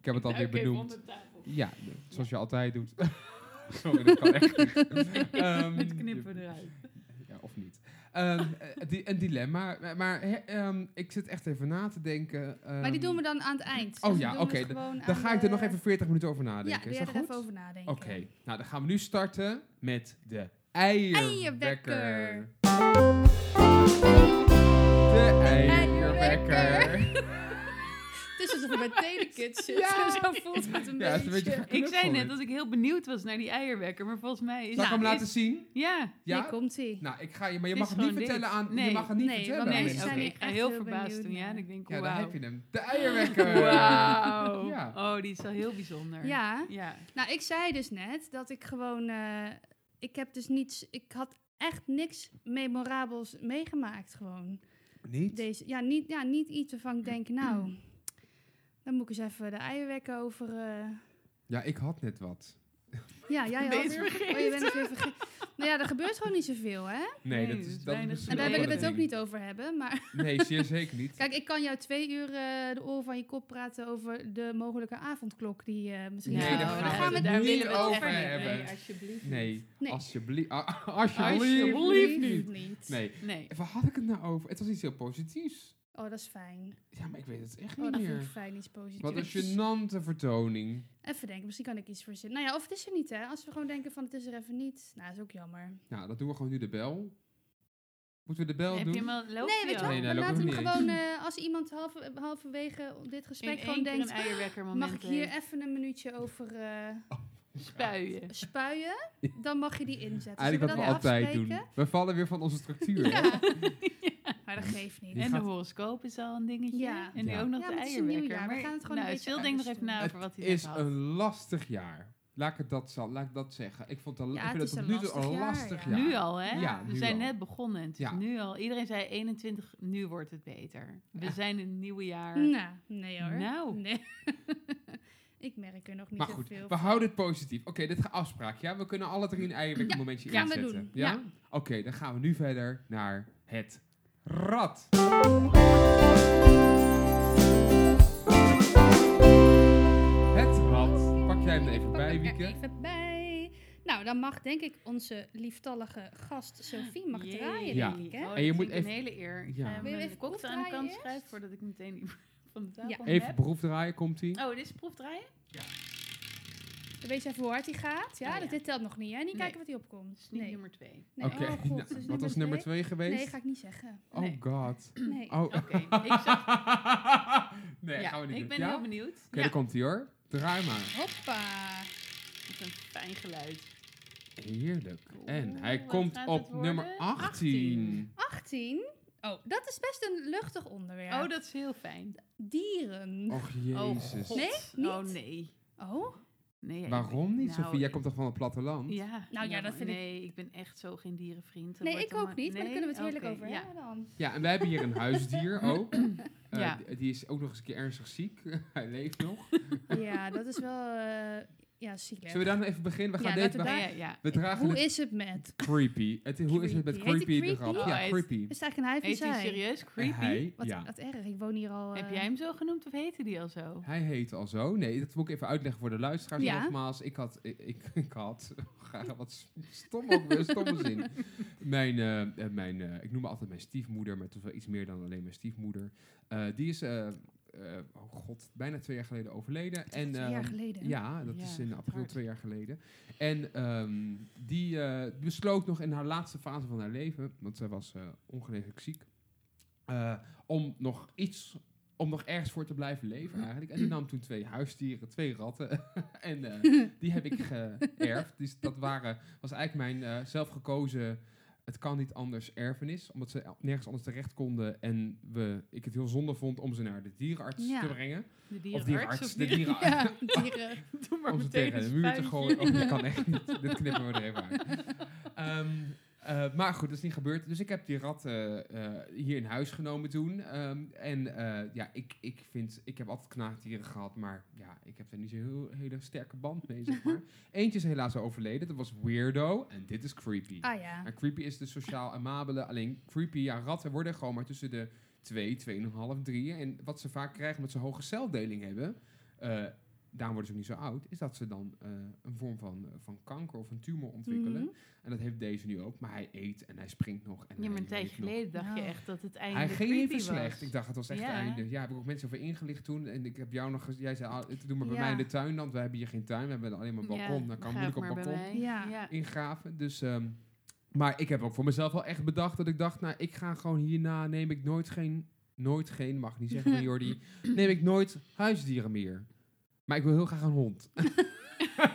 Speaker 3: heb het alweer
Speaker 4: Oké,
Speaker 3: benoemd.
Speaker 4: onder tafel.
Speaker 3: Ja, zoals je altijd doet. Sorry, dat kan echt niet. Ehm,
Speaker 4: Dit knippen we eruit.
Speaker 3: Ja, of niet. Ehm, eh, di- een dilemma. Maar, maar, hè, ehm, ik zit echt even na te denken.
Speaker 2: Maar die
Speaker 3: ehm,
Speaker 2: doen we dan aan het eind.
Speaker 3: oh
Speaker 2: dan
Speaker 3: ja,
Speaker 2: doen we
Speaker 3: oké,
Speaker 2: het gewoon
Speaker 3: Dan
Speaker 2: aan
Speaker 3: ga ik er
Speaker 2: de-
Speaker 3: nog even 40 minuten over
Speaker 2: Ja,
Speaker 3: nadenken.
Speaker 2: doe
Speaker 3: is
Speaker 2: jij
Speaker 3: dat
Speaker 2: er
Speaker 3: goed?
Speaker 2: even over nadenken.
Speaker 3: Oké, nou dan gaan we nu starten met de eierwekker.
Speaker 2: Eierwekker.
Speaker 3: De eierwekker.
Speaker 2: Eierwekker. Het is is alsof we bij Telekids zitten.
Speaker 4: Ja.
Speaker 2: Zo voelt het een
Speaker 3: Ja, het is een beetje
Speaker 2: beetje.
Speaker 3: geknuffeld.
Speaker 4: Ik zei net dat ik heel benieuwd was naar die eierwekker, maar volgens mij is
Speaker 3: Zal ik hem
Speaker 4: Nou,
Speaker 3: laten
Speaker 4: is-
Speaker 3: zien?
Speaker 4: Ja,
Speaker 3: Ja?
Speaker 2: Hier komt ie.
Speaker 3: Nou, ik ga je, maar je
Speaker 4: Het
Speaker 3: mag
Speaker 4: is
Speaker 3: het niet
Speaker 4: gewoon
Speaker 3: vertellen
Speaker 4: dit.
Speaker 3: aan. Je
Speaker 4: Nee.
Speaker 3: mag het niet
Speaker 2: Nee,
Speaker 3: vertellen.
Speaker 2: want
Speaker 3: aan
Speaker 4: nee,
Speaker 2: mensen
Speaker 4: oké.
Speaker 2: zijn
Speaker 4: Ik
Speaker 2: echt
Speaker 4: ga heel
Speaker 2: heel
Speaker 4: verbaasd
Speaker 2: benieuwd
Speaker 4: toen, ja.
Speaker 2: naar.
Speaker 4: En ik denk,
Speaker 3: Ja,
Speaker 4: wauw.
Speaker 3: daar heb je hem. De eierwekker.
Speaker 4: Wauw.
Speaker 3: Ja.
Speaker 4: Oh, die is wel heel bijzonder.
Speaker 2: Ja.
Speaker 4: Ja.
Speaker 2: Nou, ik zei dus net dat ik gewoon. eh, ik heb dus niets. Ik had echt niks memorabels meegemaakt gewoon.
Speaker 3: Niet?
Speaker 2: Deze, ja, niet, ja, niet iets waarvan ik denk, nou,
Speaker 4: Mm.
Speaker 2: dan moet ik eens even de eierwekken over. eh,
Speaker 3: Ja, ik had net wat.
Speaker 2: ja, jij had-
Speaker 4: Deze vergeten.
Speaker 2: Oh, je bent het weer vergeten. Nou ja, er gebeurt gewoon niet zoveel, hè?
Speaker 3: Nee,
Speaker 4: Nee,
Speaker 3: dat
Speaker 4: dat
Speaker 3: is
Speaker 4: is
Speaker 3: dat is
Speaker 4: weinig.
Speaker 3: misschien
Speaker 2: En daar
Speaker 4: Nee,
Speaker 3: wel
Speaker 2: willen we
Speaker 3: een
Speaker 2: het ook
Speaker 3: ding.
Speaker 2: niet over hebben. Maar
Speaker 3: Nee, zeer zeker niet.
Speaker 2: kijk, ik kan jou twee uur eh, de oren van je kop praten over de mogelijke avondklok die eh, misschien.
Speaker 3: Nee,
Speaker 2: gaat
Speaker 3: daar
Speaker 2: komen.
Speaker 3: gaan we het
Speaker 4: daar
Speaker 3: niet
Speaker 4: willen we het
Speaker 3: over
Speaker 4: echt niet.
Speaker 3: hebben.
Speaker 4: Nee, alsjeblieft.
Speaker 3: Nee,
Speaker 2: Nee.
Speaker 3: alsjeblieft. Ah, Alsjeblieft.
Speaker 4: Alsjeblieft niet.
Speaker 3: Nee,
Speaker 4: Nee.
Speaker 3: waar had ik het nou over? Het was iets heel positiefs.
Speaker 2: Oh, dat is fijn.
Speaker 3: Ja, maar ik weet het echt
Speaker 2: Oh,
Speaker 3: niet
Speaker 2: dat vind ik
Speaker 3: meer.
Speaker 2: fijn, iets positiefs.
Speaker 3: Wat een gênante vertoning.
Speaker 2: Even denken, misschien kan ik iets verzinnen. Nou ja, of het is er niet, hè? Als we gewoon denken van het is er even niet. Nou, is ook jammer.
Speaker 3: Nou, dat doen we gewoon nu de bel. Moeten we de bel
Speaker 4: Heb je
Speaker 3: doen?
Speaker 4: hem al loopt
Speaker 2: nee,
Speaker 4: hij
Speaker 2: weet je
Speaker 4: al?
Speaker 2: wel,
Speaker 3: Nee, nee,
Speaker 2: we
Speaker 3: loopt
Speaker 2: laten hem
Speaker 3: nog niet
Speaker 2: gewoon, eh, als iemand halve- halverwege dit gesprek
Speaker 4: In
Speaker 2: gewoon
Speaker 4: één keer een
Speaker 2: denkt,
Speaker 4: eierwekkermoment
Speaker 2: mag ik hier
Speaker 4: heeft.
Speaker 2: even een minuutje over eh,
Speaker 4: spuien?
Speaker 2: spuien, dan mag je die inzetten.
Speaker 3: Eigenlijk wat
Speaker 2: Zullen
Speaker 3: we
Speaker 2: dat
Speaker 3: altijd
Speaker 2: afspreken?
Speaker 3: doen. We vallen weer van onze structuur. hè?
Speaker 2: Ja. maar dat geeft niet.
Speaker 3: Die
Speaker 4: En
Speaker 3: gaat-
Speaker 4: de horoscoop is al een dingetje.
Speaker 2: Ja.
Speaker 4: En nu
Speaker 3: Ja.
Speaker 4: ook nog
Speaker 2: Ja,
Speaker 4: de
Speaker 2: maar het is een
Speaker 4: eierwekker.
Speaker 2: nieuw jaar. We gaan het gewoon
Speaker 4: nou,
Speaker 2: een beetje
Speaker 4: Sil, denk nog even
Speaker 2: uitbesteden.
Speaker 4: na
Speaker 3: Het
Speaker 4: over wat hij
Speaker 3: is
Speaker 4: net had.
Speaker 3: een lastig jaar. Laat ik het dat, zal- laat ik dat zeggen. Ik vond het, al-
Speaker 2: Ja,
Speaker 3: ik vind
Speaker 2: het
Speaker 3: het
Speaker 2: is
Speaker 3: tot
Speaker 2: een
Speaker 3: nu toe
Speaker 2: lastig
Speaker 3: een
Speaker 2: jaar,
Speaker 3: lastig
Speaker 2: ja.
Speaker 3: jaar.
Speaker 4: Nu al, hè?
Speaker 3: Ja,
Speaker 4: we
Speaker 3: nu
Speaker 4: zijn
Speaker 3: al.
Speaker 4: net begonnen. Het is
Speaker 3: Ja.
Speaker 4: nu al. Iedereen zei 21, nu wordt het beter. We
Speaker 3: Ja.
Speaker 4: zijn in het nieuwe jaar.
Speaker 2: Nou, nee hoor.
Speaker 4: Nou.
Speaker 2: Nee. ik merk er nog niet
Speaker 3: Maar goed,
Speaker 2: zoveel
Speaker 3: we houden het positief. Oké, dit gaat afspraak. Ja, we kunnen alle drie een eierwekker momentje
Speaker 2: gaan we
Speaker 3: inzetten.
Speaker 2: doen.
Speaker 3: Ja?
Speaker 2: Ja.
Speaker 3: Oké, dan gaan we nu verder naar het rad. Het rad. Pak jij hem er even
Speaker 2: Pak
Speaker 3: bij,
Speaker 2: hem er
Speaker 3: Wieke.
Speaker 2: even bij. Nou, dan mag denk ik onze lieftallige gast Sophie mag
Speaker 4: Jee.
Speaker 2: draaien,
Speaker 3: Ja.
Speaker 2: denk ik. Hè?
Speaker 4: Oh,
Speaker 3: En je
Speaker 4: dat
Speaker 3: moet
Speaker 4: vind ik
Speaker 3: even-
Speaker 4: een hele eer. Ik
Speaker 3: Ja.
Speaker 4: ga
Speaker 2: Wil je
Speaker 4: mijn
Speaker 2: even
Speaker 4: kop aan de
Speaker 2: proefdraaien
Speaker 4: kant
Speaker 2: eerst?
Speaker 4: schuiven voordat ik meteen die van de tafel
Speaker 2: Ja.
Speaker 3: Even
Speaker 4: heb.
Speaker 3: proef draaien, komt ie.
Speaker 4: Oh, dit is proefdraaien?
Speaker 2: Dan weet je even hoe hard hij gaat. Ja,
Speaker 4: Oh, ja.
Speaker 2: dat dit telt nog niet, hè? Niet
Speaker 4: Nee.
Speaker 2: kijken wat hij
Speaker 4: Dat
Speaker 2: opkomt.
Speaker 4: is niet
Speaker 2: Nee.
Speaker 4: nummer twee.
Speaker 2: nee.
Speaker 3: Oké,
Speaker 2: Oh, god,
Speaker 3: nou,
Speaker 2: dus
Speaker 3: wat was nummer twee geweest?
Speaker 2: Nee, ga ik niet zeggen.
Speaker 3: Oh
Speaker 4: Nee.
Speaker 3: god.
Speaker 2: Nee.
Speaker 3: Oh.
Speaker 4: Oké, ik zag-
Speaker 3: nee,
Speaker 4: ja,
Speaker 3: gaan we niet
Speaker 4: ik
Speaker 3: doen.
Speaker 4: ben
Speaker 3: ja?
Speaker 4: heel
Speaker 3: Oké,
Speaker 4: benieuwd.
Speaker 2: Ja.
Speaker 3: daar komt ie hoor. Draai maar.
Speaker 2: Hoppa.
Speaker 3: dus-
Speaker 4: Met een fijn geluid.
Speaker 3: Heerlijk. en
Speaker 4: Oeh,
Speaker 3: hij
Speaker 4: wat
Speaker 3: komt
Speaker 4: gaat
Speaker 3: op
Speaker 4: het worden?
Speaker 3: nummer 18.
Speaker 2: 18. Oh, dat is best een luchtig onderwerp.
Speaker 4: Oh, dat is heel fijn.
Speaker 2: Dieren.
Speaker 3: Och jezus.
Speaker 4: Oh,
Speaker 2: Nee,
Speaker 4: God.
Speaker 2: niet?
Speaker 4: Oh, nee.
Speaker 2: Oh,
Speaker 4: nee ja,
Speaker 3: Waarom niet,
Speaker 4: nou,
Speaker 3: Sofie? Jij komt toch van het platteland?
Speaker 4: Ja.
Speaker 2: Nou ja, dat
Speaker 4: maar
Speaker 2: vind ik-
Speaker 4: Nee, ik ben echt zo geen dierenvriend. Dat
Speaker 2: nee,
Speaker 4: wordt
Speaker 2: ik
Speaker 4: allemaal-
Speaker 2: ook niet, maar daar kunnen we het
Speaker 4: Nee?
Speaker 2: heerlijk
Speaker 4: Oké,
Speaker 2: over
Speaker 4: ja.
Speaker 2: hebben dan.
Speaker 3: Ja, en wij hebben hier een huisdier ook. Eh,
Speaker 4: Ja.
Speaker 3: d- Die is ook nog eens een keer ernstig ziek. hij leeft nog.
Speaker 2: Ja, dat is wel eh ja, zielig.
Speaker 3: Zullen we dan even beginnen? We, gaan
Speaker 2: Ja,
Speaker 3: deze,
Speaker 2: laten
Speaker 3: we,
Speaker 2: we
Speaker 4: Oh, Ja, ja, ja.
Speaker 3: we dragen
Speaker 2: Hoe
Speaker 3: het
Speaker 2: is het met?
Speaker 3: creepy. Het, hoe is het met
Speaker 2: Creepy. Heet
Speaker 3: creepy,
Speaker 2: die
Speaker 3: de
Speaker 2: creepy?
Speaker 3: grap?
Speaker 4: Oh,
Speaker 3: ja,
Speaker 4: hij is-
Speaker 3: creepy.
Speaker 2: Is het eigenlijk een hij van
Speaker 4: Heet hij
Speaker 2: zij?
Speaker 4: serieus
Speaker 3: Eh,
Speaker 4: creepy?
Speaker 3: Hij,
Speaker 2: Wat,
Speaker 3: ja.
Speaker 2: wat erg, ik woon hier al...
Speaker 4: Heb
Speaker 2: eh,
Speaker 4: jij hem zo genoemd of heette die al zo?
Speaker 3: hij heet al zo. Nee, dat moet ik even uitleggen voor de luisteraars
Speaker 2: Oh. Ja.
Speaker 3: nogmaals. Ik had, ik, ik, ik had, ga- wat stom ook weer, stomme zin. Mijn, eh, eh, mijn eh, ik noem me altijd mijn stiefmoeder, maar toch wel iets meer dan alleen mijn stiefmoeder. Eh, die is, eh, eh, oh god, bijna twee jaar geleden overleden. en,
Speaker 2: twee jaar
Speaker 3: ehm,
Speaker 2: geleden.
Speaker 3: Ja, dat
Speaker 4: Ja,
Speaker 3: is
Speaker 4: gaat
Speaker 3: in april
Speaker 4: hard.
Speaker 3: twee jaar geleden. En ehm, die eh, besloot nog in haar laatste fase van haar leven, want zij was eh ongeneeslijk ziek, eh, om nog iets, om nog ergens voor te blijven leven eigenlijk. En die nam toen twee huisdieren, twee ratten. en eh, die heb ik geërfd. Dus dat waren, was eigenlijk mijn eh, zelfgekozen, het kan niet anders erfenis, omdat ze nergens anders terecht konden. En we, ik het heel zonde vond om ze naar de dierenarts
Speaker 2: Ja.
Speaker 3: te brengen.
Speaker 4: De
Speaker 3: Of
Speaker 4: dierenarts?
Speaker 3: dierenarts, de
Speaker 4: dieren-
Speaker 3: dierenarts
Speaker 2: Ja, dieren.
Speaker 4: Doe maar
Speaker 3: om ze
Speaker 4: meteen
Speaker 3: tegen de
Speaker 4: een
Speaker 3: muur te
Speaker 4: spuitje.
Speaker 3: gooien. Oh, dat kan echt niet. Dit knippen we er even uit. Ehm, eh, maar goed, dat is niet gebeurd. Dus ik heb die rat eh, eh, hier in huis genomen toen. Ehm, en eh, ja, ik, ik vind... Ik heb altijd knaagdieren gehad, maar ja, ik heb er niet zo'n heel- hele sterke band mee, zeg maar. Eentje is helaas al overleden. Dat was Weirdo. En dit is Creepy.
Speaker 2: Ah ja.
Speaker 3: En creepy is de sociaal amabele. Alleen creepy, ja, ratten worden gewoon maar tussen de 2, 2,5, 3. En wat ze vaak krijgen omdat ze hoge celdeling hebben, eh, daarom worden ze ook niet zo oud, is dat ze dan eh, een vorm van, van kanker of een tumor ontwikkelen.
Speaker 2: Mhm.
Speaker 3: En dat heeft deze nu ook. Maar hij eet en hij springt nog. En
Speaker 4: Ja, maar
Speaker 3: hij
Speaker 4: een tijdje
Speaker 3: leeft nog.
Speaker 4: geleden dacht je
Speaker 2: Nou.
Speaker 4: echt dat het
Speaker 3: Hij
Speaker 4: eindelijk
Speaker 3: ging
Speaker 4: creepy
Speaker 3: even
Speaker 4: was.
Speaker 3: slecht. Ik dacht, het was echt het
Speaker 4: Ja.
Speaker 3: einde. Ja, heb ik ook mensen over ingelicht toen. En ik heb jou nog... gez- Jij zei, ah, doe maar bij
Speaker 2: Ja.
Speaker 3: mij in de tuin, want we hebben hier geen tuin. We hebben alleen maar een balkon. dan kan
Speaker 4: ga
Speaker 3: moeilijk
Speaker 4: ook
Speaker 3: op
Speaker 4: maar bij
Speaker 3: balkon
Speaker 4: mij.
Speaker 2: Ja.
Speaker 3: ingraven. Dus, ehm, maar ik heb ook voor mezelf wel echt bedacht dat ik dacht, nou, ik ga gewoon hierna neem ik nooit geen nooit geen, mag niet zeggen van Jordi, neem ik nooit huisdieren meer. Maar ik wil heel graag een hond.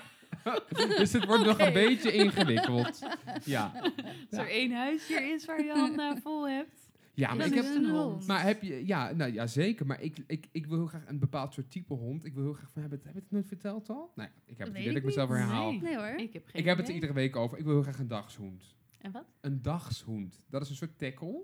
Speaker 3: dus het wordt nog
Speaker 2: Oké.
Speaker 3: een beetje ingewikkeld. Ja,
Speaker 4: Als er één huisje is waar je hand naar vol hebt,
Speaker 3: ja maar
Speaker 4: dan
Speaker 3: ik
Speaker 4: is
Speaker 3: heb
Speaker 4: het een hond.
Speaker 3: Maar heb je, ja, nou ja, zeker. Maar ik, ik, ik wil heel graag een bepaald soort type hond. Ik wil heel graag van, heb, het, heb ik het nooit verteld al? Nee, ik heb
Speaker 2: Dat
Speaker 3: het
Speaker 2: weet
Speaker 3: idee dat
Speaker 2: ik
Speaker 3: ik mezelf
Speaker 4: niet.
Speaker 3: herhaal.
Speaker 4: Nee.
Speaker 2: Nee hoor.
Speaker 4: ik heb geen
Speaker 3: Ik heb het
Speaker 4: idee.
Speaker 3: er iedere week over. Ik wil heel graag een dagshond.
Speaker 4: En wat?
Speaker 3: Een dagshond. Dat is een soort tackle. La-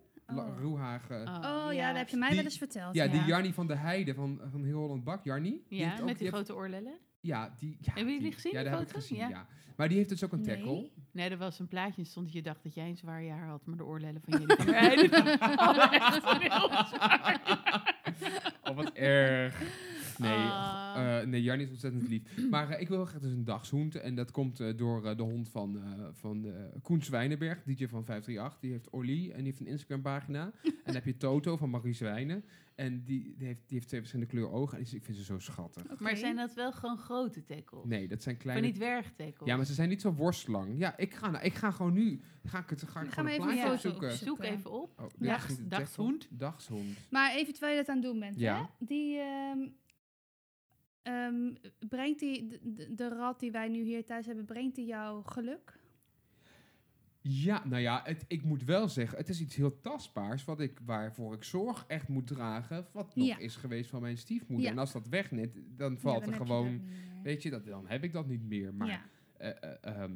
Speaker 2: Oh.
Speaker 3: Roehage.
Speaker 2: Oh ja, dat heb je mij
Speaker 3: Die-
Speaker 2: wel eens verteld.
Speaker 3: ja, die
Speaker 4: ja.
Speaker 3: Jarny van de Heide van, van Heel Holland Bak. Jarny. die
Speaker 4: Ja,
Speaker 3: heeft ook-
Speaker 4: met die
Speaker 3: heeft-
Speaker 4: grote oorlellen.
Speaker 3: Ja, die... Ja,
Speaker 4: Hebben jullie gezien,
Speaker 3: Ja,
Speaker 4: die
Speaker 3: dat heb ik
Speaker 4: foto?
Speaker 3: gezien,
Speaker 4: Ja.
Speaker 3: ja. Maar die heeft dus ook een
Speaker 2: Nee.
Speaker 3: tackle.
Speaker 4: Nee, er was een plaatje en stond dat je dacht dat jij een zwaar jaar had, maar de oorlellen van jullie. van Heijden hadden echt een heel zwaar jaar.
Speaker 3: Oh, wat erg. Nee,
Speaker 4: Ah.
Speaker 3: eh, nee Jarny is ontzettend lief. Maar eh, ik wil heel graag dus een dagshond. En dat komt eh, door eh, de hond van, eh, van eh, Koen Zwijnenberg, DJ van 538. Die heeft Olly en die heeft een Instagram-pagina. en dan heb je Toto van Marie Zwijnen. En die, die, heeft, die heeft twee verschillende kleur ogen. En die is- ik vind ze zo schattig.
Speaker 2: Oké.
Speaker 4: Maar zijn dat wel gewoon grote tackles?
Speaker 3: Nee, dat zijn
Speaker 4: Maar
Speaker 3: kleine...
Speaker 4: niet wergtackles?
Speaker 3: ja, maar ze zijn niet zo worstlang. Ja, ik ga, nou, ik ga gewoon nu... Ga ik het ga ik
Speaker 2: Ga maar
Speaker 3: gewoon een
Speaker 2: even
Speaker 3: plaatje
Speaker 4: een
Speaker 2: foto
Speaker 3: opzoeken.
Speaker 2: opzoeken.
Speaker 4: Zoek even op.
Speaker 3: Oh, dit
Speaker 4: Dag-
Speaker 3: is een
Speaker 4: dagshond.
Speaker 3: tackle. Dagshond.
Speaker 2: Maar even terwijl je dat aan het doen bent,
Speaker 3: Ja.
Speaker 2: hè? Die ehm, ehm, brengt die de, de- de rat die wij nu hier thuis hebben, brengt die jou geluk?
Speaker 3: Ja, nou ja, het, ik moet wel zeggen, het is iets heel tastbaars wat ik, waarvoor ik zorg echt moet dragen, wat nog
Speaker 2: Ja.
Speaker 3: is geweest van mijn stiefmoeder.
Speaker 2: Ja.
Speaker 3: En als dat wegnet, dan valt er gewoon, weet je, dat, dan heb ik dat niet meer. Maar,
Speaker 2: ja.
Speaker 3: eh, eh, ehm,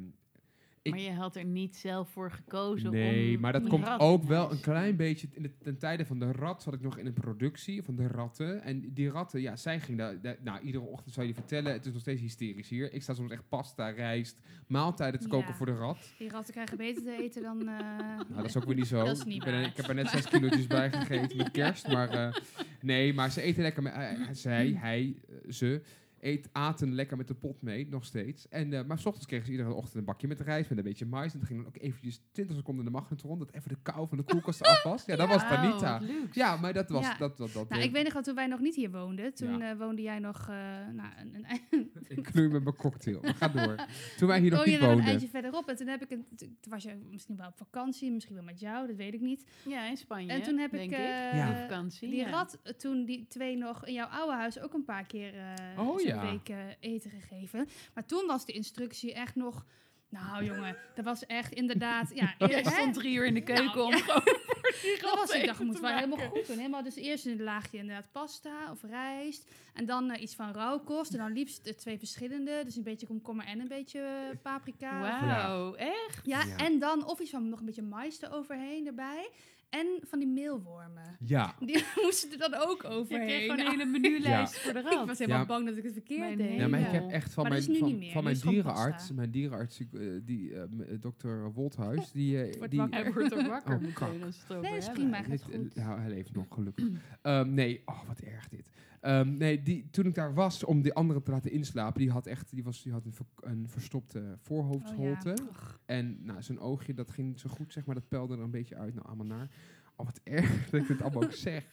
Speaker 3: Ik-
Speaker 4: maar je had er niet zelf voor gekozen
Speaker 3: nee,
Speaker 4: om
Speaker 3: maar dat
Speaker 4: een
Speaker 3: komt
Speaker 4: rat
Speaker 3: ook
Speaker 4: in
Speaker 3: wel
Speaker 4: huis.
Speaker 3: een klein beetje, in de, ten tijde van de rat zat ik nog in een productie, van de ratten. En die ratten, ja, zij ging daar, daar- nou, iedere ochtend zou je vertellen, het is nog steeds hysterisch hier. Ik sta soms echt pasta, rijst, maaltijden te koken
Speaker 2: Ja.
Speaker 3: voor de rat.
Speaker 2: Die ratten krijgen beter te eten dan... eh,
Speaker 3: Nou, dat is ook weer niet zo.
Speaker 2: Dat is niet
Speaker 3: ik, ben er-
Speaker 2: waar.
Speaker 3: ik heb er net zes kilo's bij gegeten met kerst. Maar eh, nee, maar ze eten lekker met... eh, eh, zij,
Speaker 2: Hm.
Speaker 3: hij, eh, ze eet, aten lekker met de pot mee, nog steeds. En, eh, maar s ochtends kregen ze iedere ochtend een bakje met rijst met een beetje mais. En dat ging dan ook eventjes 20 seconden in de magnetron. Dat even de kou van de koelkast af was. Ja, dat was
Speaker 4: Wauw,
Speaker 3: Tanita.
Speaker 4: Oh, wat luxe.
Speaker 3: Ja, maar dat was...
Speaker 2: Ja.
Speaker 3: Dat, dat, dat
Speaker 2: nou, ik weet nog wel, toen wij nog niet hier woonden, toen
Speaker 3: Ja.
Speaker 2: eh, woonde jij nog... eh, nou, een, een,
Speaker 3: Ik knoei met mijn cocktail. Maar ga door. Toen wij hier nog
Speaker 2: woonde
Speaker 3: niet
Speaker 2: je nog een
Speaker 3: woonden.
Speaker 2: eindje verderop. En toen heb ik een, toen was je misschien wel op vakantie, misschien wel met jou, dat weet ik niet.
Speaker 4: Ja, in Spanje.
Speaker 2: en toen heb ik,
Speaker 4: denk
Speaker 2: eh,
Speaker 3: Ja.
Speaker 4: vakantie.
Speaker 2: die
Speaker 4: ja.
Speaker 2: rat, eh, toen die twee nog in jouw oude huis, ook een paar keer eh
Speaker 3: Oh,
Speaker 2: zo'n
Speaker 3: ja.
Speaker 2: week eh, eten gegeven. Maar toen was de instructie echt nog... Nou jongen, dat was echt inderdaad... Ja,
Speaker 4: Jij
Speaker 2: hè?
Speaker 4: stond drie uur in de keuken
Speaker 2: Nou,
Speaker 4: om gewoon voor die
Speaker 2: Dat
Speaker 4: rat
Speaker 2: was, ik
Speaker 4: eten
Speaker 2: dacht, het moet
Speaker 4: te
Speaker 2: wel
Speaker 4: maken.
Speaker 2: helemaal goed doen. Helemaal, dus eerst een laagje inderdaad pasta of rijst. En dan eh, iets van rauwkost. En dan liefst eh, twee verschillende. Dus een beetje komkommer en een beetje eh, paprika.
Speaker 4: Wauw, echt?
Speaker 2: Ja,
Speaker 3: Ja.
Speaker 2: en dan of iets van nog een beetje mais eroverheen erbij. En van die meelwormen.
Speaker 3: Ja.
Speaker 2: Die moesten er dan ook
Speaker 4: Je
Speaker 2: overheen.
Speaker 4: kreeg gewoon een hele menulijst voor de rat.
Speaker 2: ik was helemaal
Speaker 3: Ja.
Speaker 2: bang dat ik het verkeerd
Speaker 4: Mijn
Speaker 2: deed.
Speaker 4: hemel.
Speaker 3: Ja, maar ik
Speaker 4: Ja.
Speaker 3: heb echt van
Speaker 2: Maar dat
Speaker 3: mijn,
Speaker 2: is nu niet
Speaker 3: van,
Speaker 2: meer.
Speaker 3: van
Speaker 2: Nu
Speaker 3: mijn
Speaker 2: is het gewoon
Speaker 3: dierenarts,
Speaker 2: pasta.
Speaker 3: mijn dierenarts, die, eh, die eh, m- eh, dokter Wolthuis, die, eh,
Speaker 2: Wordt
Speaker 3: die
Speaker 2: wakker.
Speaker 4: Hij wordt er wakker
Speaker 3: Oh,
Speaker 4: meteen
Speaker 3: kak.
Speaker 4: als het over
Speaker 2: Nee, dat is
Speaker 4: hebben.
Speaker 2: prima.
Speaker 3: Dit-
Speaker 2: gaat goed.
Speaker 3: eh, nou, hij leeft nog, gelukkig. Ehm, nee, oh, wat erg dit. Ehm, nee, die, toen ik daar was om die andere te laten inslapen, die had echt, die was, die had een, ver- een verstopte voorhoofdholte.
Speaker 2: Oh ja. Och,
Speaker 3: En nou, zijn oogje, dat ging niet zo goed, zeg maar, dat peilde er een beetje uit. Nou, allemaal naar. Oh, wat erg dat ik dit allemaal ook zeg.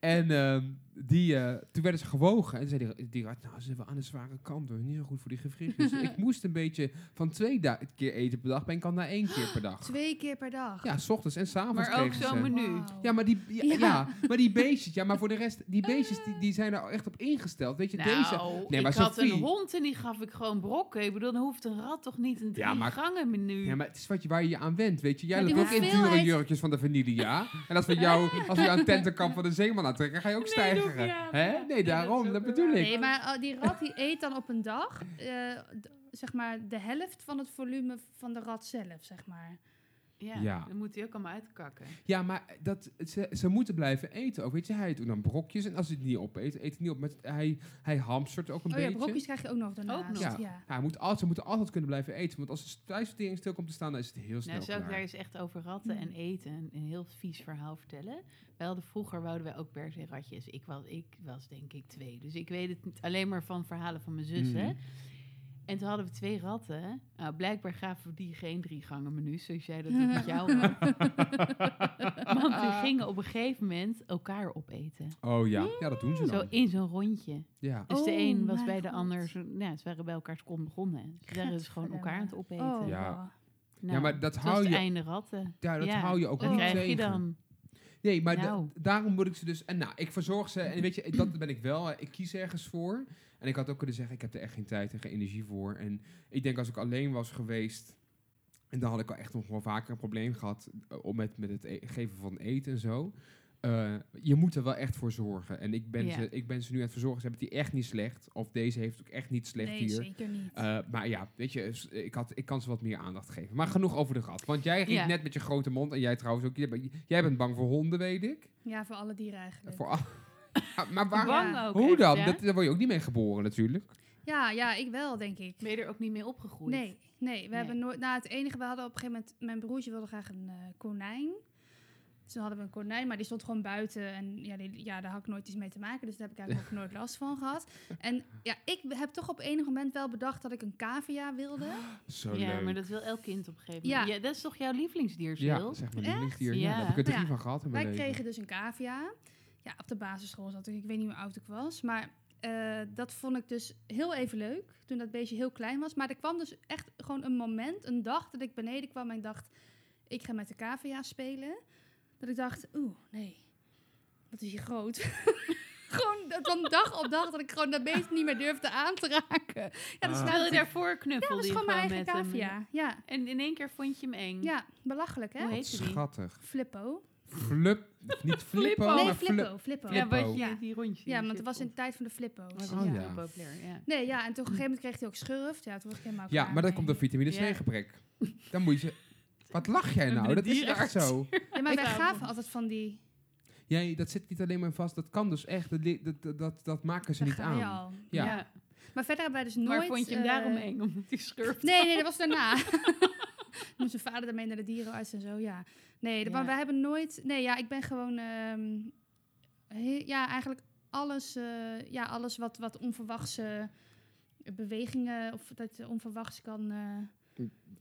Speaker 3: En ehm, die, eh, toen werden ze gewogen. En zei die, die rat, nou, ze zijn wel aan de zware kant hoor. Niet zo goed voor die gewrichten. Dus ik moest een beetje van twee da- keer eten per dag. Ben ik al naar één keer per dag.
Speaker 2: Twee keer per dag.
Speaker 3: Ja, s ochtends en s avonds
Speaker 4: Maar ook
Speaker 3: kregen
Speaker 4: zo'n
Speaker 3: ze.
Speaker 4: menu.
Speaker 2: Wauw.
Speaker 3: Ja, maar die, ja,
Speaker 2: Ja.
Speaker 3: ja, maar die beestjes, ja, maar voor de rest, die beestjes die, die zijn er echt op ingesteld. Weet je, deze.
Speaker 4: Ah. Nou,
Speaker 3: Nee,
Speaker 4: ik
Speaker 3: maar
Speaker 4: had een
Speaker 3: Sophie-
Speaker 4: hond en die gaf ik gewoon brokken. Ik bedoel, dan hoeft een rat toch niet een drie
Speaker 3: Ja, maar-
Speaker 4: gangen menu.
Speaker 3: Ja, maar het is wat je, waar je je aan went, weet je. Jij
Speaker 2: Maar
Speaker 3: loopt
Speaker 2: die
Speaker 3: ook in dure
Speaker 2: hoeveelheid-
Speaker 3: jurkjes van de Vanilia. En als we jou, als we jou een tentenkamp van de Zeeman aantrekken, ga je ook
Speaker 4: Nee,
Speaker 3: stijgeren.
Speaker 4: doe ik niet aan.
Speaker 3: Hè?
Speaker 4: Ja.
Speaker 3: Nee,
Speaker 4: Nee, dat is
Speaker 3: daarom,
Speaker 4: ook
Speaker 3: dat
Speaker 4: weer
Speaker 3: bedoel
Speaker 4: waar.
Speaker 3: ik.
Speaker 2: Nee, maar eh, die rat die eet dan op een dag, eh, d- zeg maar, de helft van het volume van de rat zelf, zeg maar.
Speaker 4: Ja,
Speaker 3: Ja.
Speaker 4: dan moet hij ook allemaal uitkakken.
Speaker 3: Ja, maar dat, ze, ze moeten blijven eten ook, weet je. Hij doet dan brokjes en als hij het niet opeet, eet het niet op. Met, hij, hij hamstert ook een
Speaker 2: oh
Speaker 3: beetje.
Speaker 2: ja, brokjes krijg je ook nog daarnaast.
Speaker 4: nog.
Speaker 2: Ja.
Speaker 3: Ja. Ja, hij moet altijd, ze moeten altijd kunnen blijven eten. Want als de thuisvertering stil komt te staan, dan is het heel snel
Speaker 4: Nou, zou ik
Speaker 3: klaar.
Speaker 4: daar eens echt over ratten en eten een, een heel vies verhaal vertellen? Wij hadden vroeger, wouden wij ook per se ratjes. Ik was, ik was denk ik twee, dus ik weet het niet alleen maar van verhalen van mijn zussen.
Speaker 3: Mhm.
Speaker 4: En toen hadden we twee ratten. Nou, blijkbaar gaven die geen drie gangen menus, zoals jij dat doet met jou. Want die gingen op een gegeven moment elkaar opeten.
Speaker 3: Oh ja, ja, dat doen ze
Speaker 4: Zo
Speaker 3: dan.
Speaker 4: in zo'n rondje.
Speaker 3: Ja.
Speaker 4: Dus de
Speaker 2: Oh,
Speaker 4: een was
Speaker 2: mijn
Speaker 4: bij de
Speaker 2: God.
Speaker 4: ander, zo, nou, ze waren bij elkaars kont begonnen. Ze waren dus gewoon elkaar aan het opeten.
Speaker 2: Oh,
Speaker 3: Ja.
Speaker 2: wow.
Speaker 4: Nou,
Speaker 3: ja, maar dat
Speaker 4: het was
Speaker 3: hou
Speaker 4: het
Speaker 3: je,
Speaker 4: einde ratten.
Speaker 3: ja, dat
Speaker 4: ja,
Speaker 3: hou je ook
Speaker 4: Wat
Speaker 3: niet
Speaker 4: krijg je
Speaker 3: tegen.
Speaker 4: dan?
Speaker 3: Nee, maar da-
Speaker 4: Nou.
Speaker 3: daarom moet ik ze dus... En nou, ik verzorg ze. En weet je, dat ben ik wel. hè. Ik kies ergens voor. En ik had ook kunnen zeggen, ik heb er echt geen tijd en geen energie voor. En ik denk als ik alleen was geweest... En dan had ik al echt nog wel vaker een probleem gehad eh, om met, met het e- geven van eten en zo. Eh, je moet er wel echt voor zorgen. En ik ben,
Speaker 4: Ja.
Speaker 3: ze, ik ben ze nu aan het verzorgen. Ze hebben het hier echt niet slecht. Of deze heeft het ook echt niet slecht
Speaker 2: Nee,
Speaker 3: hier.
Speaker 2: zeker niet.
Speaker 3: Eh, maar ja, weet je, s- ik, had, ik kan ze wat meer aandacht geven. Maar genoeg over de gat. Want jij ging
Speaker 4: Ja.
Speaker 3: net met je grote mond en jij trouwens ook. Jij, bent- jij bent bang voor honden, weet ik.
Speaker 2: ja, voor alle dieren eigenlijk.
Speaker 3: Voor al- Ja, maar waar,
Speaker 4: Bang
Speaker 2: Ja.
Speaker 4: ook
Speaker 3: hoe
Speaker 4: echt,
Speaker 3: dan?
Speaker 4: hè?
Speaker 3: Dat, daar word je ook niet mee geboren natuurlijk.
Speaker 2: Ja, ja, ik wel, denk ik.
Speaker 4: Ben je er ook niet mee opgegroeid?
Speaker 2: Nee, nee. We
Speaker 4: Nee.
Speaker 2: hebben nooit. Nou, het enige, we hadden op een gegeven moment. Mijn broertje wilde graag een eh, konijn. Dus toen hadden we een konijn, maar die stond gewoon buiten. En ja, die, ja, daar had ik nooit iets mee te maken. Dus daar heb ik eigenlijk ook nooit last van gehad. En ja, ik heb toch op enig moment wel bedacht dat ik een cavia wilde.
Speaker 3: Zo
Speaker 4: ja,
Speaker 3: leuk.
Speaker 4: maar dat wil elk kind op een gegeven moment.
Speaker 2: Ja.
Speaker 4: Ja. dat is toch jouw lievelingsdier, Sil?
Speaker 3: ja, zeg maar,
Speaker 2: Echt?
Speaker 3: lievelingsdier. Ja.
Speaker 4: Ja.
Speaker 3: daar heb ik er drie
Speaker 2: Ja.
Speaker 3: van gehad in mijn
Speaker 2: Wij
Speaker 3: leven.
Speaker 2: kregen dus een cavia. Ja, op de basisschool zat ik. Ik weet niet hoe oud ik was. Maar eh, dat vond ik dus heel even leuk. Toen dat beestje heel klein was. Maar er kwam dus echt gewoon een moment, een dag dat ik beneden kwam en ik dacht, ik ga met de cavia spelen. Dat ik dacht, oeh, nee, wat is hier groot. gewoon dat van dag op dag dat ik gewoon dat beest niet meer durfde aan te raken. Ja, dat is
Speaker 3: Ah.
Speaker 4: Terwijl
Speaker 2: nou,
Speaker 4: je daarvoor
Speaker 2: dat
Speaker 4: knuffelde
Speaker 2: is
Speaker 4: je
Speaker 2: gewoon mijn eigen
Speaker 4: met hem.
Speaker 2: cavia. Ja,
Speaker 4: En in één keer vond je hem eng.
Speaker 2: ja, belachelijk hè?
Speaker 4: Hoe
Speaker 3: Wat
Speaker 4: heette die?
Speaker 3: schattig.
Speaker 2: Flippo.
Speaker 3: Flip, niet Flippo,
Speaker 4: Oh,
Speaker 2: nee,
Speaker 3: maar Flip.
Speaker 2: Flippo, Flippo.
Speaker 4: Ja,
Speaker 3: Flippo.
Speaker 4: want je-
Speaker 2: Ja.
Speaker 4: die rondjes.
Speaker 2: Ja, want het was in de tijd van de flippo's.
Speaker 4: was
Speaker 3: Oh,
Speaker 4: heel
Speaker 3: ja.
Speaker 4: populair, ja.
Speaker 2: Nee, ja, en toen op een gegeven moment kreeg hij ook schurft. Ja, toen was ik helemaal
Speaker 3: Ja,
Speaker 2: klaar
Speaker 3: maar dat
Speaker 2: mee.
Speaker 3: komt door vitamine C
Speaker 4: Ja.
Speaker 3: gebrek. Dan moet je... Wat lach jij
Speaker 4: En de
Speaker 3: nou? Dat is echt
Speaker 4: dierenarts.
Speaker 3: zo.
Speaker 2: Ja, maar wij
Speaker 4: Ja.
Speaker 2: gaven altijd van die...
Speaker 3: Jij, dat zit niet alleen maar vast. Dat kan dus echt. Dat, li- dat, dat- dat, dat maken ze
Speaker 2: Daar
Speaker 3: niet
Speaker 2: gaan we
Speaker 3: aan.
Speaker 2: al.
Speaker 3: Ja.
Speaker 2: Maar verder hebben wij dus nooit...
Speaker 4: Maar vond je hem
Speaker 2: eh,
Speaker 4: daarom eng, omdat hij schurft?
Speaker 2: Nee, nee, dat was daarna. Moest zijn vader daarmee naar de dierenarts en zo, ja. Nee, dat- maar
Speaker 4: Ja.
Speaker 2: wij hebben nooit... Nee, ja, ik ben gewoon... ehm, he- ja, eigenlijk alles, eh, ja, alles wat, wat onverwachtse bewegingen... of dat je onverwachts kan... eh,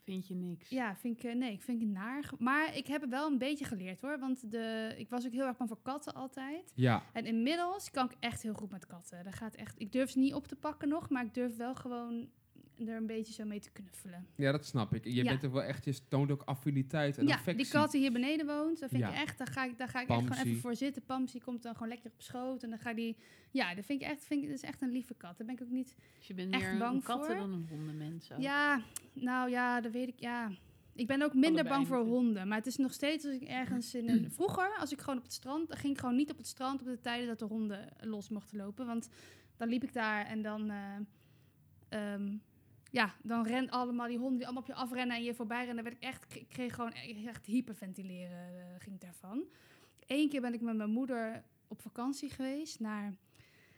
Speaker 4: Vind je niks?
Speaker 2: Ja, vind ik, eh, nee, ik vind het naar. Maar ik heb het wel een beetje geleerd hoor. Want de, ik was ook heel erg bang voor katten altijd.
Speaker 3: Ja.
Speaker 2: En inmiddels kan ik echt heel goed met katten. Daar gaat echt, ik durf ze niet op te pakken nog, maar ik durf wel gewoon er een beetje zo mee te knuffelen.
Speaker 3: Ja, dat snap ik. Je
Speaker 2: Ja.
Speaker 3: bent ook wel echt, je toont ook affiniteit en
Speaker 2: ja,
Speaker 3: affectie.
Speaker 2: die kat die hier beneden woont, daar vind
Speaker 3: Ja.
Speaker 2: ik echt, daar ga ik, daar ga ik echt gewoon
Speaker 3: Pamsi.
Speaker 2: even voor zitten. Pamsi komt dan gewoon lekker op schoot en dan ga die, ja, dat vind ik echt, vind ik, dat is echt een lieve kat. Daar ben ik ook niet,
Speaker 4: Dus je bent
Speaker 2: Echt
Speaker 4: meer een
Speaker 2: bang
Speaker 4: katten
Speaker 2: voor?
Speaker 4: dan een hondenmens ook.
Speaker 2: ja, nou ja, dat weet ik, ja. Ik ben ook minder
Speaker 4: Allebei
Speaker 2: bang voor
Speaker 4: natuurlijk.
Speaker 2: honden, maar het is nog steeds als ik ergens in een... Vroeger, als ik gewoon op het strand, dan ging ik gewoon niet op het strand op de tijden dat de honden los mochten lopen, want dan liep ik daar en dan... eh, ehm, ja, dan ren allemaal die honden die allemaal op je afrennen en je voorbij rennen. Dan werd ik echt, ik kreeg gewoon e- echt hyperventileren, eh, ging ik daarvan. Eén keer ben ik met mijn moeder op vakantie geweest naar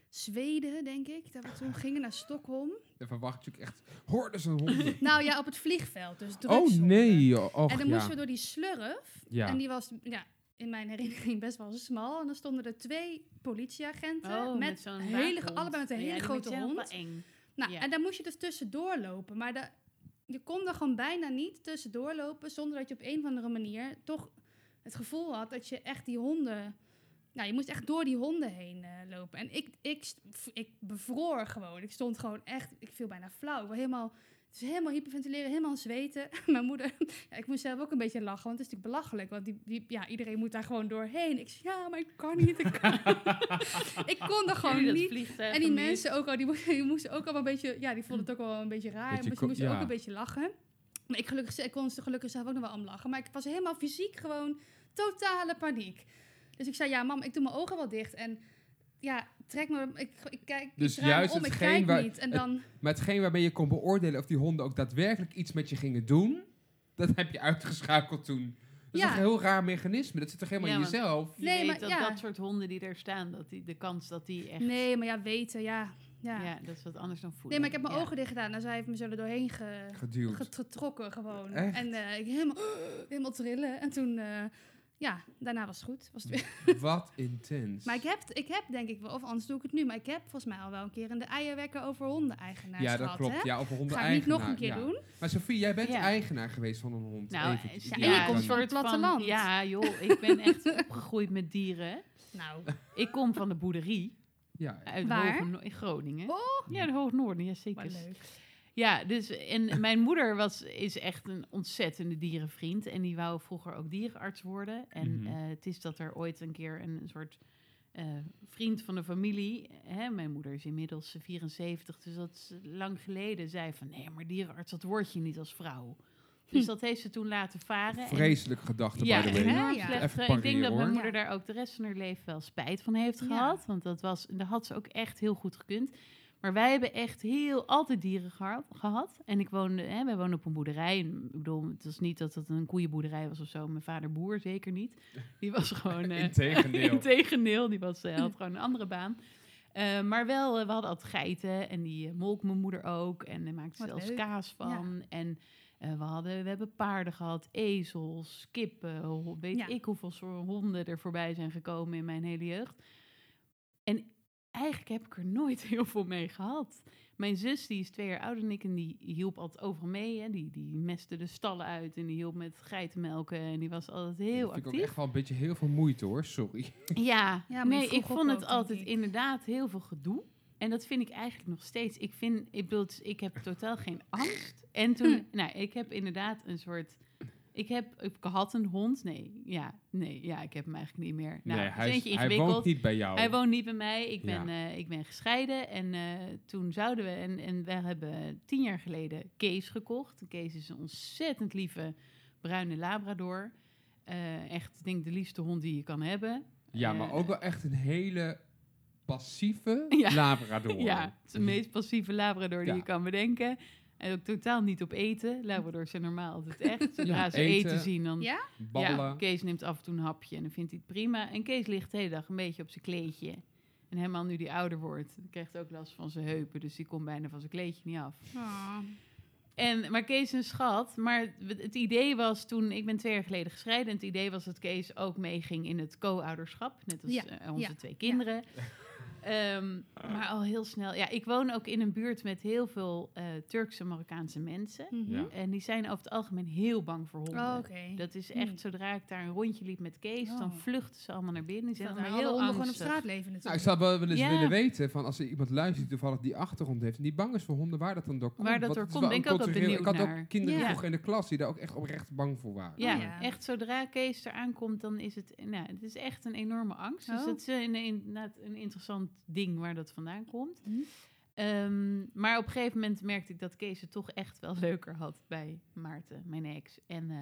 Speaker 2: Zweden, denk ik. Dat we toen gingen naar Stockholm.
Speaker 3: Dan verwacht je ook echt hordes en honden.
Speaker 2: Nou ja, op het vliegveld, dus
Speaker 3: oh
Speaker 2: drugshonden.
Speaker 3: nee, joh. Och,
Speaker 2: en dan
Speaker 3: ja.
Speaker 2: moesten we door die slurf.
Speaker 3: Ja.
Speaker 2: En die was ja, in mijn herinnering best wel smal. En dan stonden er twee politieagenten
Speaker 4: Oh,
Speaker 2: met,
Speaker 4: zo'n
Speaker 2: hele,
Speaker 4: waakhond.
Speaker 2: allebei met een
Speaker 4: Ja,
Speaker 2: hele
Speaker 4: die
Speaker 2: grote
Speaker 4: zijn ook
Speaker 2: hond.
Speaker 4: wel eng.
Speaker 2: Nou,
Speaker 4: Ja.
Speaker 2: en daar moest je dus tussendoor lopen. Maar da- je kon er gewoon bijna niet tussendoor lopen zonder dat je op een of andere manier toch het gevoel had dat je echt die honden. Nou, je moest echt door die honden heen eh, lopen. En ik, ik, st- f- ik bevroor gewoon. Ik stond gewoon echt, ik viel bijna flauw. Ik was helemaal, het is helemaal hyperventileren, helemaal aan het zweten. Mijn moeder, ja, ik moest zelf ook een beetje lachen, want het is natuurlijk belachelijk. Want die, die- ja, iedereen moet daar gewoon doorheen. Ik zei, ja, maar ik kan niet. Ik, kan niet." ik kon er
Speaker 4: Jullie
Speaker 2: gewoon
Speaker 4: dat
Speaker 2: niet
Speaker 4: vliegtuig
Speaker 2: en die
Speaker 4: gemist.
Speaker 2: mensen ook al, die moesten, die moesten ook al een beetje, ja, die vonden het ook wel een beetje raar.
Speaker 3: Hm. Beetje
Speaker 2: dus
Speaker 3: ko-
Speaker 2: die moesten
Speaker 3: ja.
Speaker 2: ook een beetje lachen. Maar ik, gelukkig, ik kon ze gelukkig zelf ook nog wel om lachen. Maar ik was helemaal fysiek gewoon totale paniek. Dus ik zei, ja mam, ik doe mijn ogen wel dicht. En ja, trek me, ik, ik kijk,
Speaker 3: Dus
Speaker 2: ik draai me
Speaker 3: juist
Speaker 2: om, ik
Speaker 3: hetgeen
Speaker 2: kijk
Speaker 3: waar-
Speaker 2: niet. En
Speaker 3: het-
Speaker 2: dan,
Speaker 3: Maar hetgeen waarmee je kon beoordelen of die honden ook daadwerkelijk iets met je gingen doen, dat heb je uitgeschakeld toen. Dat is
Speaker 2: Ja.
Speaker 3: toch een heel raar mechanisme. Dat zit toch helemaal
Speaker 4: Ja,
Speaker 3: in
Speaker 4: want-
Speaker 3: jezelf?
Speaker 4: Je
Speaker 2: Nee,
Speaker 4: weet
Speaker 2: maar
Speaker 4: dat
Speaker 2: ja.
Speaker 4: dat soort honden die daar staan, dat die, de kans dat die echt...
Speaker 2: nee, maar ja, weten, ja. ja.
Speaker 4: ja. dat is wat anders dan voelen.
Speaker 2: nee, maar ik heb mijn
Speaker 4: Ja.
Speaker 2: ogen dicht gedaan en zij heeft me zo er doorheen ge,
Speaker 3: Geduwd.
Speaker 2: get- getrokken gewoon.
Speaker 3: Echt?
Speaker 2: En eh, ik helemaal, helemaal trillen. En toen, eh, ja, daarna was het goed. Was het weer
Speaker 3: Wat intens.
Speaker 2: Maar ik heb, het- ik heb denk ik wel, of anders doe ik het nu, maar ik heb volgens mij al wel een keer in de eierwekker over hondeneigenaars
Speaker 3: ja, dat
Speaker 2: gehad.
Speaker 3: klopt.
Speaker 2: Hè?
Speaker 3: Ja, over honden
Speaker 2: Ga ik niet nog
Speaker 3: eigenaar,
Speaker 2: een keer
Speaker 3: ja.
Speaker 2: doen.
Speaker 3: Maar Sophie, jij bent
Speaker 4: Ja.
Speaker 3: eigenaar geweest van een hond.
Speaker 4: Nou,
Speaker 3: Even.
Speaker 4: ja,
Speaker 2: en je
Speaker 4: een
Speaker 2: komt van
Speaker 4: soort
Speaker 2: het platteland.
Speaker 4: ja, joh, ik ben echt opgegroeid met dieren.
Speaker 2: Nou,
Speaker 4: Ik kom van de boerderie
Speaker 3: Ja.
Speaker 4: uit
Speaker 2: Waar?
Speaker 4: Hoge No- in Groningen.
Speaker 2: Oh.
Speaker 4: Ja, de Hoog Noorden, ja
Speaker 2: maar
Speaker 4: zeker.
Speaker 2: leuk.
Speaker 4: Ja, dus en mijn moeder was, is echt een ontzettende dierenvriend. En die wou vroeger ook dierenarts worden. En
Speaker 3: Mhm.
Speaker 4: eh, het is dat er ooit een keer een, een soort eh, vriend van de familie, hè, mijn moeder is inmiddels eh, 74, dus dat is lang geleden, zei van nee, maar dierenarts, dat word je niet als vrouw. Dus dat heeft ze toen laten varen. En-
Speaker 3: Vreselijke gedachte,
Speaker 4: ja,
Speaker 3: by the
Speaker 4: en
Speaker 3: way.
Speaker 2: hè?
Speaker 4: enorm
Speaker 2: Ja.
Speaker 4: slecht.
Speaker 3: Even
Speaker 4: Eh, Ik
Speaker 3: pareren,
Speaker 4: denk dat mijn
Speaker 3: hoor.
Speaker 4: moeder daar ook de rest van haar leven wel spijt van heeft
Speaker 2: Ja.
Speaker 4: gehad. Want dat, was, dat had ze ook echt heel goed gekund. Maar wij hebben echt heel altijd dieren geha- gehad. En ik woonde, hè, wij woonden op een boerderij. En Ik bedoel, het was niet dat het een koeienboerderij was of zo. Mijn vader boer zeker niet. Die was gewoon... eh,
Speaker 3: Integendeel.
Speaker 4: Integendeel, die was, eh, had gewoon een andere baan. Eh, maar wel, eh, we hadden altijd geiten en die eh, molk mijn moeder ook. En daar maakte ze
Speaker 2: Wat
Speaker 4: zelfs
Speaker 2: leuk.
Speaker 4: kaas van. En eh, we, hadden, we hebben paarden gehad, ezels, kippen. ho- Weet
Speaker 2: Ja.
Speaker 4: ik hoeveel soort honden er voorbij zijn gekomen in mijn hele jeugd. En eigenlijk heb ik er nooit heel veel mee gehad. Mijn zus, die is twee jaar ouder dan ik en die hielp altijd overal mee. Hè. Die, die mestte de stallen uit en die hielp met geitenmelken. En die was altijd heel
Speaker 3: dat vind ik ook
Speaker 4: actief.
Speaker 3: echt wel een beetje heel veel moeite hoor, sorry.
Speaker 4: Ja,
Speaker 2: Ja, maar je
Speaker 4: nee,
Speaker 2: vroeg
Speaker 4: ik
Speaker 2: ook
Speaker 4: vond
Speaker 2: wel,
Speaker 4: het
Speaker 2: denk
Speaker 4: altijd
Speaker 2: ik.
Speaker 4: inderdaad heel veel gedoe. En dat vind ik eigenlijk nog steeds. Ik vind, ik bedoel, het is- ik heb totaal geen angst. En toen,
Speaker 2: Hm.
Speaker 4: nou, ik heb inderdaad een soort. Ik heb, ik had een hond. Nee, ja, nee, ja, ik heb hem eigenlijk niet meer. Nou,
Speaker 3: nee,
Speaker 4: het
Speaker 3: hij,
Speaker 4: is
Speaker 3: is-
Speaker 4: eentje
Speaker 3: hij
Speaker 4: ingewikkeld.
Speaker 3: woont niet bij jou.
Speaker 4: Hij woont niet bij mij. Ik ben,
Speaker 3: Ja.
Speaker 4: eh, ik ben gescheiden. En eh, toen zouden we... En, en we hebben tien jaar geleden Kees gekocht. Kees is een ontzettend lieve bruine labrador. Eh, echt, ik denk de liefste hond die je kan hebben.
Speaker 3: ja,
Speaker 4: eh,
Speaker 3: maar ook wel echt een hele passieve
Speaker 4: Ja.
Speaker 3: labrador.
Speaker 4: Ja, het is de meest passieve labrador die
Speaker 3: Ja.
Speaker 4: je kan bedenken. En ook totaal niet op eten. Labradors zijn normaal altijd echt. Zodra
Speaker 3: Ja,
Speaker 4: ze eten.
Speaker 3: eten.
Speaker 4: zien, dan...
Speaker 2: Ja?
Speaker 3: Babbelen.
Speaker 4: Ja, Kees neemt af en toe een hapje en dan vindt hij het prima. En Kees ligt de hele dag een beetje op zijn kleedje. En helemaal nu die ouder wordt, krijgt ook last van zijn heupen. Dus die komt bijna van zijn kleedje niet af.
Speaker 2: Oh.
Speaker 4: En, maar Kees is een schat. Maar het het idee was toen, ik ben twee jaar geleden gescheiden. En het idee was dat Kees ook meeging in het co-ouderschap. Net als
Speaker 2: Ja,
Speaker 4: eh, onze
Speaker 2: ja,
Speaker 4: twee kinderen. Ehm, maar al heel snel. Ja, ik woon ook in een buurt met heel veel eh, Turkse Marokkaanse mensen.
Speaker 2: Mhm.
Speaker 3: Ja.
Speaker 4: En die zijn over het algemeen heel bang voor honden.
Speaker 2: Oh, Oké.
Speaker 4: Dat is
Speaker 2: Hmm.
Speaker 4: echt, zodra ik daar een rondje liep met Kees, dan
Speaker 2: Oh.
Speaker 4: vluchten ze allemaal naar binnen. Die zijn
Speaker 2: Terwijl
Speaker 4: allemaal
Speaker 2: alle
Speaker 4: heel
Speaker 2: honden gewoon
Speaker 4: angstig.
Speaker 2: op straat leven
Speaker 3: Nou, ik
Speaker 2: natuurlijk.
Speaker 3: zou wel wel eens
Speaker 4: Ja.
Speaker 3: willen weten van als er iemand luistert die toevallig die achtergrond heeft en die bang is voor honden, waar dat dan door komt.
Speaker 4: Waar
Speaker 3: Want
Speaker 4: dat door
Speaker 3: het is
Speaker 4: komt,
Speaker 3: wel een
Speaker 4: ben ik ook wel
Speaker 3: cultureel-
Speaker 4: benieuwd
Speaker 3: Ik had
Speaker 4: naar.
Speaker 3: ook kinderen
Speaker 4: Ja.
Speaker 3: vroeger in de klas die daar ook echt oprecht bang voor waren.
Speaker 4: Ja,
Speaker 2: Oh ja.
Speaker 4: echt zodra Kees eraan komt, dan is het, nou, het is echt een enorme angst. Dus
Speaker 2: Oh.
Speaker 4: dat is een, een- inderdaad een interessant ding waar dat vandaan komt.
Speaker 2: Mhm.
Speaker 4: Ehm, maar op een gegeven moment merkte ik dat Kees het toch echt wel leuker had bij Maarten, mijn ex. En eh,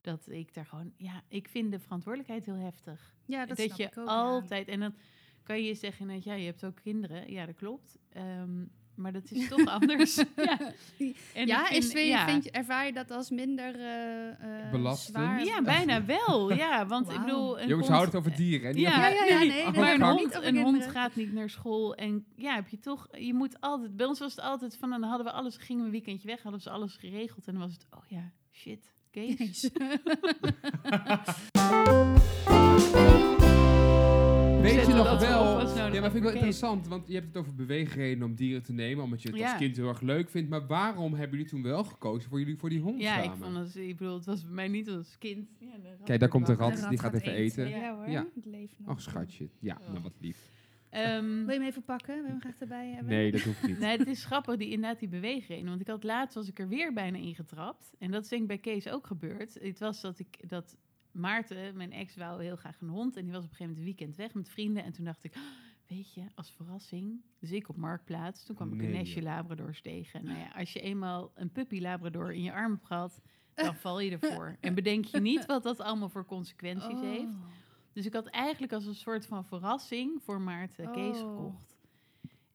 Speaker 4: dat ik daar gewoon, ja, ik vind de verantwoordelijkheid heel heftig.
Speaker 2: Ja,
Speaker 4: Dat,
Speaker 2: dat, snap
Speaker 4: je
Speaker 2: ik ook. ja.
Speaker 4: altijd. En dan kan je zeggen, dat, ja, je hebt ook kinderen. Ja, dat klopt. Ehm, maar dat is toch anders. Ja, en ik
Speaker 2: Ja,
Speaker 4: vind-
Speaker 2: in twee
Speaker 4: ja.
Speaker 2: vind je, ervaar je dat als minder eh, eh,
Speaker 3: Belastend.
Speaker 2: zwaar.
Speaker 4: Ja, bijna wel. Ja, want ik
Speaker 2: Wauw.
Speaker 4: bedoel... een
Speaker 3: Jongens,
Speaker 4: hond- eh,
Speaker 3: houd het over dieren. Hè? Die
Speaker 2: ja,
Speaker 4: Ja,
Speaker 2: ja, ja,
Speaker 4: nee,
Speaker 2: nee.
Speaker 3: oh,
Speaker 2: dat
Speaker 4: Maar een
Speaker 2: gaat
Speaker 3: Frank.
Speaker 4: hond,
Speaker 2: over
Speaker 4: een hond
Speaker 2: kinderen.
Speaker 4: gaat niet naar school. En ja, heb je toch... Je moet altijd... Bij ons was het altijd van... Dan hadden we alles... Gingen we een weekendje weg, hadden ze alles geregeld. En dan was het... Oh ja, shit. Kees.
Speaker 3: Weet je
Speaker 4: Zetten we
Speaker 3: nog
Speaker 4: dat
Speaker 3: wel?
Speaker 4: op als nou nodig
Speaker 3: Ja, maar vind ik wel
Speaker 4: voor Kees.
Speaker 3: interessant, want je hebt het over beweegredenen om dieren te nemen, omdat je het
Speaker 4: Ja.
Speaker 3: als kind heel erg leuk vindt. Maar waarom hebben jullie toen wel gekozen voor jullie voor die hond
Speaker 4: Ja, ik
Speaker 3: samen?
Speaker 4: vond het... Ik bedoel, het was bij mij niet als kind. Ja, de rat
Speaker 3: Kijk, daar komt de
Speaker 4: kwam.
Speaker 3: rat. die gaat even eten.
Speaker 2: Ja,
Speaker 4: Ja.
Speaker 2: hoor,
Speaker 3: Ja.
Speaker 2: het leven nog.
Speaker 3: Ach, Oh, schatje. Ja,
Speaker 4: Oh.
Speaker 3: nou wat lief.
Speaker 4: Ehm,
Speaker 2: Wil je hem even pakken? Wil je hem graag erbij hebben?
Speaker 3: Nee, dat hoeft niet.
Speaker 4: Nee, het is grappig, die, inderdaad, die beweegreden. Want ik had laatst, was ik er weer bijna ingetrapt. En dat is denk ik bij Kees ook gebeurd. Het was dat ik, dat Maarten, mijn ex, wou heel graag een hond. En die was op een gegeven moment weekend weg met vrienden. En toen dacht ik, "Ah, weet je, als verrassing. Dus ik op Marktplaats. Toen kwam ik een
Speaker 3: Nee,
Speaker 4: nestje
Speaker 3: joh.
Speaker 4: labradors tegen. Nou ja, als je eenmaal een puppy labrador in je arm hebt gehad, dan val je ervoor. En bedenk je niet wat dat allemaal voor consequenties
Speaker 2: Oh.
Speaker 4: heeft. Dus ik had eigenlijk als een soort van verrassing voor Maarten Kees
Speaker 2: Oh.
Speaker 4: gekocht.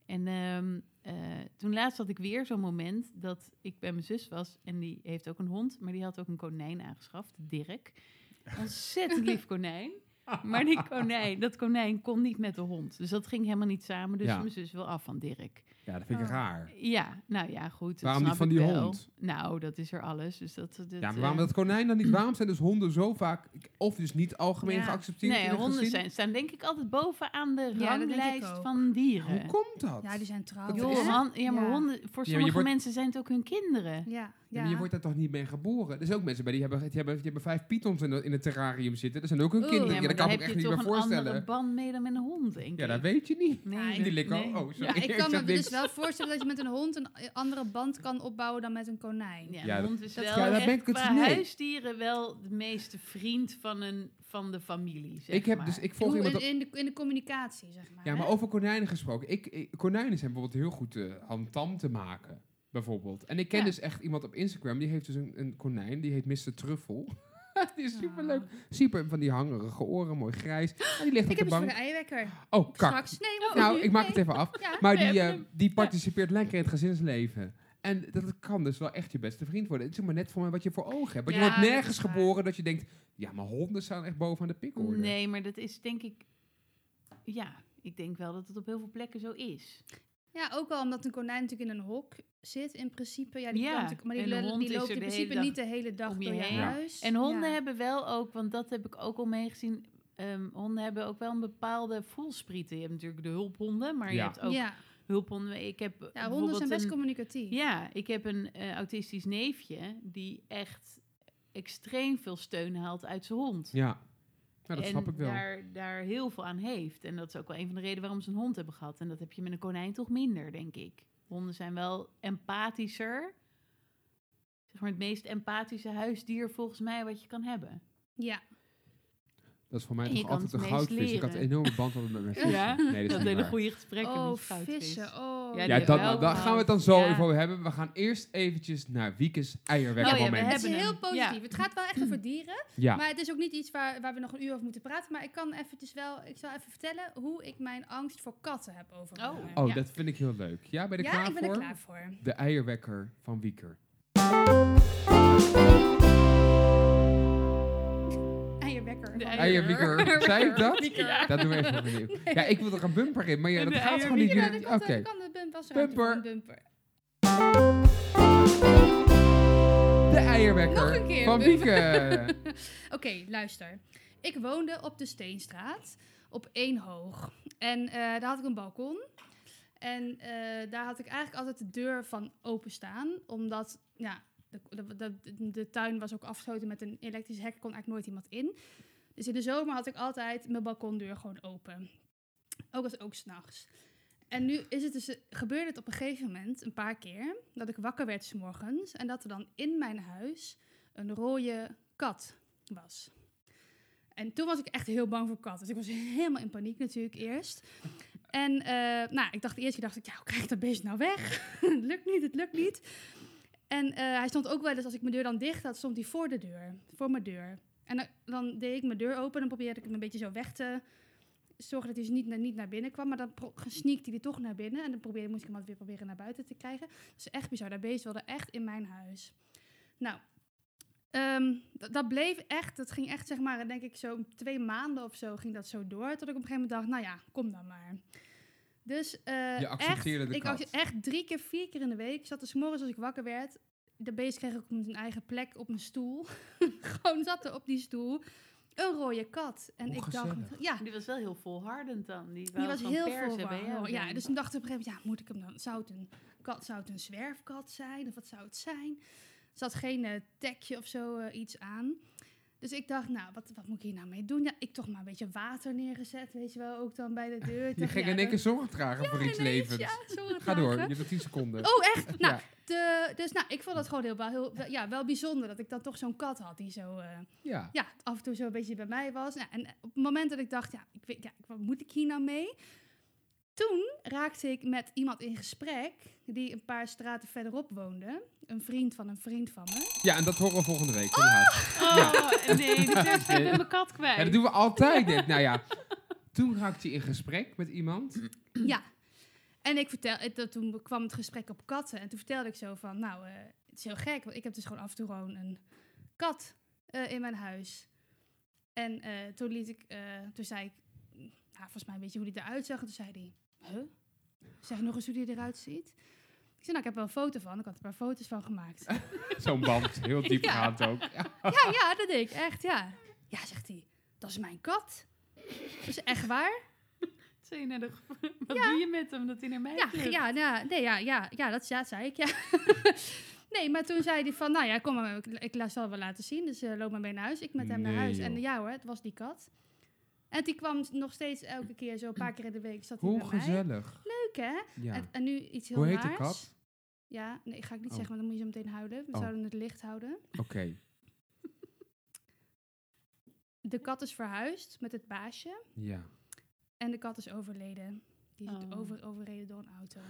Speaker 4: En ehm, eh, toen laatst had ik weer zo'n moment dat ik bij mijn zus was. En die heeft ook een hond, maar die had ook een konijn aangeschaft, Dirk. Ontzettend lief konijn. Maar die konijn, dat konijn kon niet met de hond. Dus dat ging helemaal niet samen. Dus
Speaker 3: Ja.
Speaker 4: mijn zus wil af van Dirk.
Speaker 3: Ja, dat vind ik
Speaker 2: Oh.
Speaker 3: raar.
Speaker 4: Ja, nou ja, goed. dat
Speaker 3: Waarom
Speaker 4: snap
Speaker 3: niet van
Speaker 4: ik
Speaker 3: die
Speaker 4: wel.
Speaker 3: hond?
Speaker 4: Nou, dat is er alles. Dus dat, dat,
Speaker 3: Ja, maar
Speaker 4: eh,
Speaker 3: waarom dat konijn dan niet? Waarom zijn dus honden zo vaak, of dus niet algemeen
Speaker 2: Ja.
Speaker 3: geaccepteerd
Speaker 4: Nee,
Speaker 3: in een
Speaker 4: honden
Speaker 3: gezin?
Speaker 4: zijn, staan denk ik altijd bovenaan de
Speaker 2: denk ik
Speaker 4: ranglijst
Speaker 2: ook.
Speaker 4: van dieren.
Speaker 3: Hoe komt dat?
Speaker 2: Ja, die zijn trouw.
Speaker 3: Dat
Speaker 4: Joh,
Speaker 3: is-
Speaker 4: han- ja, maar
Speaker 2: Ja.
Speaker 4: honden, voor
Speaker 3: je
Speaker 4: sommige
Speaker 3: wordt-
Speaker 4: mensen zijn het ook hun kinderen.
Speaker 2: Ja,
Speaker 3: Ja,
Speaker 2: ja.
Speaker 3: maar je wordt daar toch niet mee geboren? Er zijn ook mensen bij die hebben, die hebben, die hebben vijf pythons in, de- in het terrarium zitten. Dat zijn ook hun
Speaker 2: Oeh.
Speaker 3: kinderen.
Speaker 2: Ja,
Speaker 3: Ja,
Speaker 4: maar
Speaker 3: dat kan
Speaker 4: daar
Speaker 3: ik me
Speaker 4: heb
Speaker 3: echt
Speaker 4: je
Speaker 3: niet
Speaker 4: toch
Speaker 3: meer
Speaker 4: een andere
Speaker 3: voorstellen.
Speaker 4: band mee dan met een hond, denk ik.
Speaker 3: Ja, dat weet je niet.
Speaker 4: Nee,
Speaker 2: Ja,
Speaker 3: En die likken.
Speaker 4: nee.
Speaker 3: Oh, sorry.
Speaker 2: Ja, ik kan
Speaker 3: zeg
Speaker 2: me dus
Speaker 3: niks.
Speaker 2: wel voorstellen dat je met een hond een eh, andere band kan opbouwen dan met een konijn.
Speaker 4: Ja,
Speaker 3: Ja,
Speaker 4: een
Speaker 3: dat-
Speaker 4: hond is
Speaker 2: dat-
Speaker 4: wel
Speaker 2: ja, daar
Speaker 4: echt
Speaker 3: ben ik het dus
Speaker 4: qua
Speaker 3: mee.
Speaker 4: huisdieren wel de meeste vriend van, een, van de familie, zeg
Speaker 3: Ik, heb,
Speaker 4: maar.
Speaker 3: dus, ik volg
Speaker 2: Hoe,
Speaker 3: iemand
Speaker 2: in,
Speaker 3: op-
Speaker 2: in, de, in de communicatie, zeg maar.
Speaker 3: Ja, maar
Speaker 2: hè?
Speaker 3: over konijnen gesproken. Ik, ik- konijnen zijn bijvoorbeeld heel goed eh handtam te maken. Bijvoorbeeld. En ik ken
Speaker 4: Ja.
Speaker 3: dus echt iemand op Instagram. Die heeft dus een, een konijn. Die heet Mr. Truffel. die
Speaker 2: Ah.
Speaker 3: is superleuk. Super van die hangerige oren. Mooi grijs. En die ligt
Speaker 2: Ik
Speaker 3: op de
Speaker 2: heb eens voor de
Speaker 3: bank.
Speaker 2: eiwekker.
Speaker 3: Oh, kak.
Speaker 2: Straks. Nee, maar voor
Speaker 3: Nou,
Speaker 2: nu.
Speaker 3: ik maak het
Speaker 2: Nee.
Speaker 3: even af.
Speaker 2: Ja.
Speaker 3: Maar
Speaker 4: We
Speaker 3: die,
Speaker 4: hebben
Speaker 3: eh,
Speaker 4: hem.
Speaker 3: die participeert lekker in het gezinsleven. En dat kan dus wel echt je beste vriend worden. Het is maar net voor mij wat je voor ogen hebt. Want
Speaker 2: Ja,
Speaker 3: je wordt
Speaker 2: dat
Speaker 3: nergens
Speaker 2: is waar.
Speaker 3: geboren dat je denkt... Ja, maar honden staan echt bovenaan de pikorde.
Speaker 4: Nee, maar dat is denk ik... Ja, ik denk wel dat het op heel veel plekken zo is.
Speaker 2: Ja, ook al omdat een konijn natuurlijk in een hok zit in principe. Ja, die,
Speaker 4: Ja,
Speaker 2: kan natuurlijk- maar die,
Speaker 4: en een
Speaker 2: lo-
Speaker 4: hond
Speaker 2: die
Speaker 4: is
Speaker 2: loopt
Speaker 4: er
Speaker 2: in
Speaker 4: de
Speaker 2: principe
Speaker 4: hele
Speaker 2: niet de hele dag
Speaker 4: om je
Speaker 2: door je
Speaker 4: heen.
Speaker 3: Ja.
Speaker 2: huis.
Speaker 4: En honden
Speaker 2: Ja.
Speaker 4: hebben wel ook, want dat heb ik ook al meegezien... ehm, honden hebben ook wel een bepaalde voelsprieten. Je hebt natuurlijk de hulphonden, maar je
Speaker 3: Ja.
Speaker 4: hebt ook
Speaker 2: ja.
Speaker 4: hulphonden. Ik heb
Speaker 2: ja, honden
Speaker 4: bijvoorbeeld
Speaker 2: zijn best
Speaker 4: een-
Speaker 2: communicatief.
Speaker 4: Ja, ik heb een eh, autistisch neefje die echt extreem veel steun haalt uit zijn hond.
Speaker 3: Ja. Ja, dat
Speaker 4: en
Speaker 3: snap ik wel.
Speaker 4: Daar, daar heel veel aan heeft. En dat is ook wel een van de redenen waarom ze een hond hebben gehad. En dat heb je met een konijn toch minder, denk ik. Honden zijn wel empathischer. Zeg maar het meest empathische huisdier volgens mij wat je kan hebben.
Speaker 2: Ja.
Speaker 3: Dat is voor mij
Speaker 4: En je
Speaker 3: toch
Speaker 4: kan
Speaker 3: altijd een
Speaker 4: het meest
Speaker 3: goudvis. Ik had een
Speaker 4: leren.
Speaker 3: enorme band altijd met mijn vissen. Nee, dat is niet
Speaker 4: hele
Speaker 3: waar.
Speaker 4: goede gesprekken
Speaker 2: Oh,
Speaker 4: met goudvis.
Speaker 2: vissen. Oh,
Speaker 4: Ja,
Speaker 2: die
Speaker 3: Ja,
Speaker 2: hebben
Speaker 3: dat,
Speaker 2: we ook
Speaker 4: wel
Speaker 3: daar
Speaker 2: gehad.
Speaker 3: gaan we het dan zo
Speaker 4: Ja.
Speaker 3: even over hebben. We gaan eerst eventjes naar Wiekes eierwekkermoment.
Speaker 4: Oh ja, we
Speaker 2: Het is
Speaker 4: hebben
Speaker 2: heel
Speaker 4: hem.
Speaker 2: positief.
Speaker 4: Ja.
Speaker 2: Het gaat wel echt over dieren.
Speaker 3: ja.
Speaker 2: Maar het is ook niet iets waar, waar we nog een uur over moeten praten. Maar ik kan eventjes wel... Ik zal even vertellen hoe ik mijn angst voor katten heb overwonnen.
Speaker 4: Oh.
Speaker 3: Oh,
Speaker 4: Ja.
Speaker 3: dat vind ik heel leuk. Ja, ben je er
Speaker 2: Ja,
Speaker 3: klaar
Speaker 2: ik ben
Speaker 3: voor?
Speaker 2: er klaar voor.
Speaker 3: De eierwekker van Wieker.
Speaker 2: Eierwekker.
Speaker 4: De
Speaker 2: Wat-
Speaker 4: eier-
Speaker 3: Eierwieker, zei ik dat?
Speaker 2: Wieker.
Speaker 3: Dat doen we even opnieuw. Ja, ik wil er een bumper in, maar ja,
Speaker 4: De
Speaker 3: dat gaat gewoon niet.
Speaker 2: Ja, dat
Speaker 3: doen.
Speaker 2: kan,
Speaker 3: Oké.
Speaker 2: dat kan de bumper. als ruimte voor
Speaker 3: Bumper.
Speaker 2: een bumper.
Speaker 3: De
Speaker 2: Nog een
Speaker 3: eierwekker
Speaker 2: keer,
Speaker 3: van
Speaker 2: Bumper.
Speaker 3: Wieker.
Speaker 2: Oké, luister. Ik woonde op de Steenstraat, op één hoog. En eh, daar had ik een balkon. En eh, daar had ik eigenlijk altijd de deur van openstaan. Omdat, ja, de, de, de, de tuin was ook afgesloten met een elektrisch hek. kon eigenlijk nooit iemand in. Dus in de zomer had ik altijd mijn balkondeur gewoon open. Ook als ook s'nachts. En nu is het dus, gebeurde het op een gegeven moment, een paar keer, dat ik wakker werd 's morgens en dat er dan in mijn huis een rode kat was. En toen was ik echt heel bang voor katten. Dus ik was helemaal in paniek natuurlijk eerst. En eh, nou, ik dacht eerst, ik dacht ik, ja, hoe krijg ik dat beest nou weg? het lukt niet, het lukt niet. En eh, hij stond ook wel eens, als ik mijn deur dan dicht had, stond hij voor de deur, voor mijn deur. En dan, dan deed ik mijn deur open en probeerde ik hem een beetje zo weg te zorgen dat hij dus niet, naar- niet naar binnen kwam. Maar dan pro- sneakte hij toch naar binnen en dan probeerde, moest ik hem altijd weer proberen naar buiten te krijgen. Dus echt bizar, dat beest wilde echt in mijn huis. Nou, Ehm, dat, dat bleef echt, dat ging echt zeg maar, denk ik zo twee maanden of zo ging dat zo door. Tot ik op een gegeven moment dacht, nou ja, kom dan maar. Dus eh,
Speaker 3: Je accepteerde
Speaker 2: echt,
Speaker 3: de
Speaker 2: ik
Speaker 3: kat.
Speaker 2: accepte- echt drie keer, vier keer in de week. Ik zat dus 's morgens als ik wakker werd. De beest kreeg ook een eigen plek op mijn stoel. Gewoon zat er op die stoel. Een rode kat. En
Speaker 3: Hoe
Speaker 2: ik
Speaker 3: gezellig.
Speaker 2: dacht, ja,
Speaker 4: Die was wel heel volhardend dan. Die,
Speaker 2: die
Speaker 4: wou
Speaker 2: was
Speaker 4: gewoon
Speaker 2: heel
Speaker 4: pers hebben,
Speaker 2: volwaardig.
Speaker 4: ja,
Speaker 2: Ja, dus toen dacht ik op een gegeven moment, ja, moet ik hem dan? Zou het een kat, zou het een zwerfkat zijn? Of wat zou het zijn? Er zat geen eh, tekje of zo eh, iets aan. Dus ik dacht, nou, wat, wat moet ik hier nou mee doen? Ja, ik toch maar een beetje water neergezet, weet je wel, ook dan bij de deur. Ik
Speaker 3: Je
Speaker 2: dacht,
Speaker 3: ging
Speaker 2: ja,
Speaker 3: in één keer
Speaker 2: dan-
Speaker 3: zorg dragen voor iets
Speaker 2: ineens,
Speaker 3: levends.
Speaker 2: ja, zorgen
Speaker 3: Ga door, je
Speaker 2: dragen.
Speaker 3: hebt nog 10 seconden.
Speaker 2: Oh, echt? Nou,
Speaker 3: Ja.
Speaker 2: de, dus nou, ik vond dat gewoon heel, wel- heel, wel- ja, wel bijzonder dat ik dan toch zo'n kat had die zo... eh,
Speaker 3: Ja.
Speaker 2: ja, af en toe zo een beetje bij mij was. Nou, en op het moment dat ik dacht, ja, ik weet, ja, wat moet ik hier nou mee? Toen raakte ik met iemand in gesprek die een paar straten verderop woonde. Een vriend van een vriend van me.
Speaker 3: ja, en dat horen we volgende week. helaas.
Speaker 4: Oh, nee, dit is- ik ben mijn kat kwijt.
Speaker 3: Ja, dat doen we altijd. dit. Nou ja, toen raakte hij in gesprek met iemand.
Speaker 2: ja. En ik vertel, eh, dat- toen kwam het gesprek op katten. En toen vertelde ik zo van, nou, eh, het is heel gek. Want ik heb dus gewoon af en toe gewoon een kat eh, in mijn huis. En eh, toen liet ik, eh, toen zei ik, nou, volgens mij weet je hoe die eruit zag. En toen zei hij, huh? Zeg nog eens hoe die eruit ziet. Ik zei, nou, ik heb wel een foto van. Ik had er een paar foto's van gemaakt.
Speaker 3: Zo'n band, heel diepgaand ook. Ja.
Speaker 2: ja, ja, dat deed ik, echt, ja. Ja, zegt hij, dat is mijn kat. Dat is echt waar.
Speaker 4: Zei je naar de gev- Wat doe je met hem dat hij naar mij
Speaker 2: Ja,
Speaker 4: vlucht?
Speaker 2: ja, ja, nee, ja, ja, ja, dat, ja, dat zei ik, ja. nee, maar toen zei hij van, nou ja, kom maar, ik, ik la- zal het wel laten zien. Dus eh, loop maar mee naar huis. Ik met hem naar
Speaker 3: Nee,
Speaker 2: huis.
Speaker 3: joh.
Speaker 2: En ja hoor, het was die kat. En En die kwam nog steeds elke keer zo een paar keer in de week. Zat hij
Speaker 3: Hoe
Speaker 2: bij mij.
Speaker 3: gezellig.
Speaker 2: Leuk, hè? En,
Speaker 3: Ja.
Speaker 2: en nu iets heel
Speaker 3: Hoe heet de
Speaker 2: raars.
Speaker 3: kat?
Speaker 2: Ja, nee, ga ik niet
Speaker 3: Oh.
Speaker 2: zeggen, want dan moet je zo meteen huilen. We
Speaker 3: Oh.
Speaker 2: zouden het licht houden.
Speaker 3: Oké.
Speaker 2: De kat is verhuisd met het baasje.
Speaker 3: Ja.
Speaker 2: En de kat is overleden. Die is
Speaker 4: Oh.
Speaker 2: over, overreden door een auto.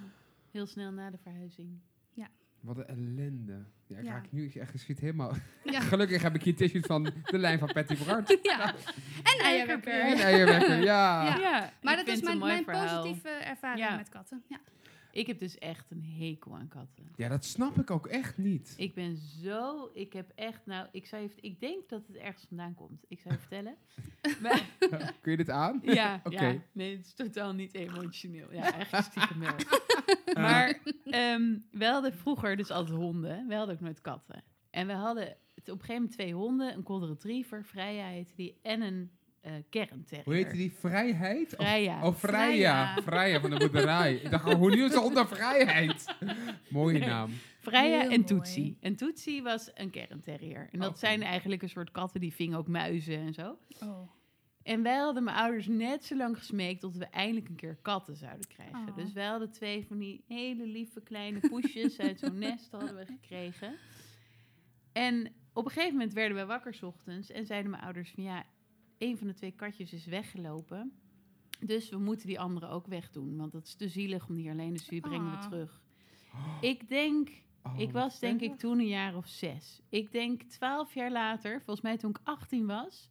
Speaker 4: Heel snel na de verhuizing.
Speaker 3: Wat een ellende. Ja, ik
Speaker 2: Ja.
Speaker 3: raak nu echt geschiet helemaal.
Speaker 2: Ja.
Speaker 3: Gelukkig heb ik hier tissues van de lijn van Patty Brand.
Speaker 2: Ja. En eierwekker.
Speaker 3: En eierwekker, ja.
Speaker 2: Ja. Maar
Speaker 4: ik
Speaker 2: dat is
Speaker 4: vind het
Speaker 2: mijn,
Speaker 4: een mooi
Speaker 2: mijn
Speaker 4: verhaal.
Speaker 2: positieve ervaring
Speaker 4: Ja.
Speaker 2: met katten. Ja.
Speaker 4: Ik heb dus echt een hekel aan katten.
Speaker 3: Ja, dat snap ik ook echt niet.
Speaker 4: Ik ben zo, ik heb echt, nou, ik zou je, vert- ik denk dat het ergens vandaan komt. Ik zou je vertellen. Maar,
Speaker 3: Kun je dit aan?
Speaker 4: ja,
Speaker 3: Oké.
Speaker 4: ja, nee, het is totaal niet emotioneel. Ja, eigenlijk stiekem wel.
Speaker 2: Ah.
Speaker 4: Maar ehm we hadden vroeger dus altijd honden. We hadden ook nooit katten. En we hadden het op een gegeven moment twee honden. Een golden retriever, Freya heette die, en een eh kernterrier.
Speaker 3: Hoe heette die? Vrijheid? Of-
Speaker 4: Freya.
Speaker 3: Oh, Freya.
Speaker 2: Freya.
Speaker 3: Freya van de boerderij. Ik dacht, oh, hoe nu is het onder vrijheid? Mooie naam.
Speaker 4: Freya
Speaker 2: Heel
Speaker 4: en
Speaker 2: mooi.
Speaker 4: Toetsie. En Toetsie was een kernterrier. En dat
Speaker 3: Oké.
Speaker 4: zijn eigenlijk een soort katten die vingen ook muizen en zo.
Speaker 2: Oh.
Speaker 4: En wij hadden mijn ouders net zo lang gesmeekt tot we eindelijk een keer katten zouden krijgen.
Speaker 2: Oh.
Speaker 4: Dus wij hadden twee van die hele lieve kleine poesjes uit zo'n nest hadden we gekregen. En op een gegeven moment werden wij wakker 's ochtends en zeiden mijn ouders van ja, een van de twee katjes is weggelopen. Dus we moeten die andere ook wegdoen, want dat is te zielig om die alleen, dus die brengen we
Speaker 2: Ah.
Speaker 4: terug. Ik denk,
Speaker 3: Oh,
Speaker 4: ik was
Speaker 3: wat
Speaker 4: denk
Speaker 3: erg.
Speaker 4: ik toen een jaar of zes. Ik denk twaalf jaar later, volgens mij toen ik 18 was,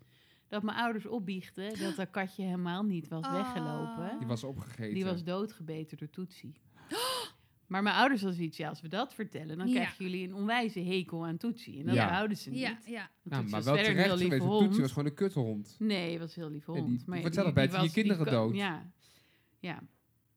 Speaker 4: dat mijn ouders opbiechten dat dat katje helemaal niet was
Speaker 2: Ah.
Speaker 4: weggelopen.
Speaker 3: Die was opgegeten.
Speaker 4: Die was doodgebeten door Toetsie. Maar mijn ouders hadden zoiets, ja, als we dat vertellen, dan
Speaker 2: Ja.
Speaker 4: krijgen jullie een onwijze hekel aan Toetsie. En dat
Speaker 3: Ja.
Speaker 4: houden ze niet.
Speaker 2: Ja, ja.
Speaker 4: Want
Speaker 3: Ja,
Speaker 4: Toetsie
Speaker 3: maar
Speaker 4: was
Speaker 3: wel
Speaker 4: Dus verder een
Speaker 3: terecht
Speaker 4: heel lieve
Speaker 3: geweest. want
Speaker 4: hond.
Speaker 3: Toetsie was gewoon een kuthond.
Speaker 4: Nee, het was een heel lief
Speaker 3: die-
Speaker 4: hond.
Speaker 3: die
Speaker 4: maar
Speaker 3: vertellen bij het je
Speaker 4: was- die
Speaker 3: kinderen
Speaker 4: kan-
Speaker 3: dood.
Speaker 4: Ja. ja.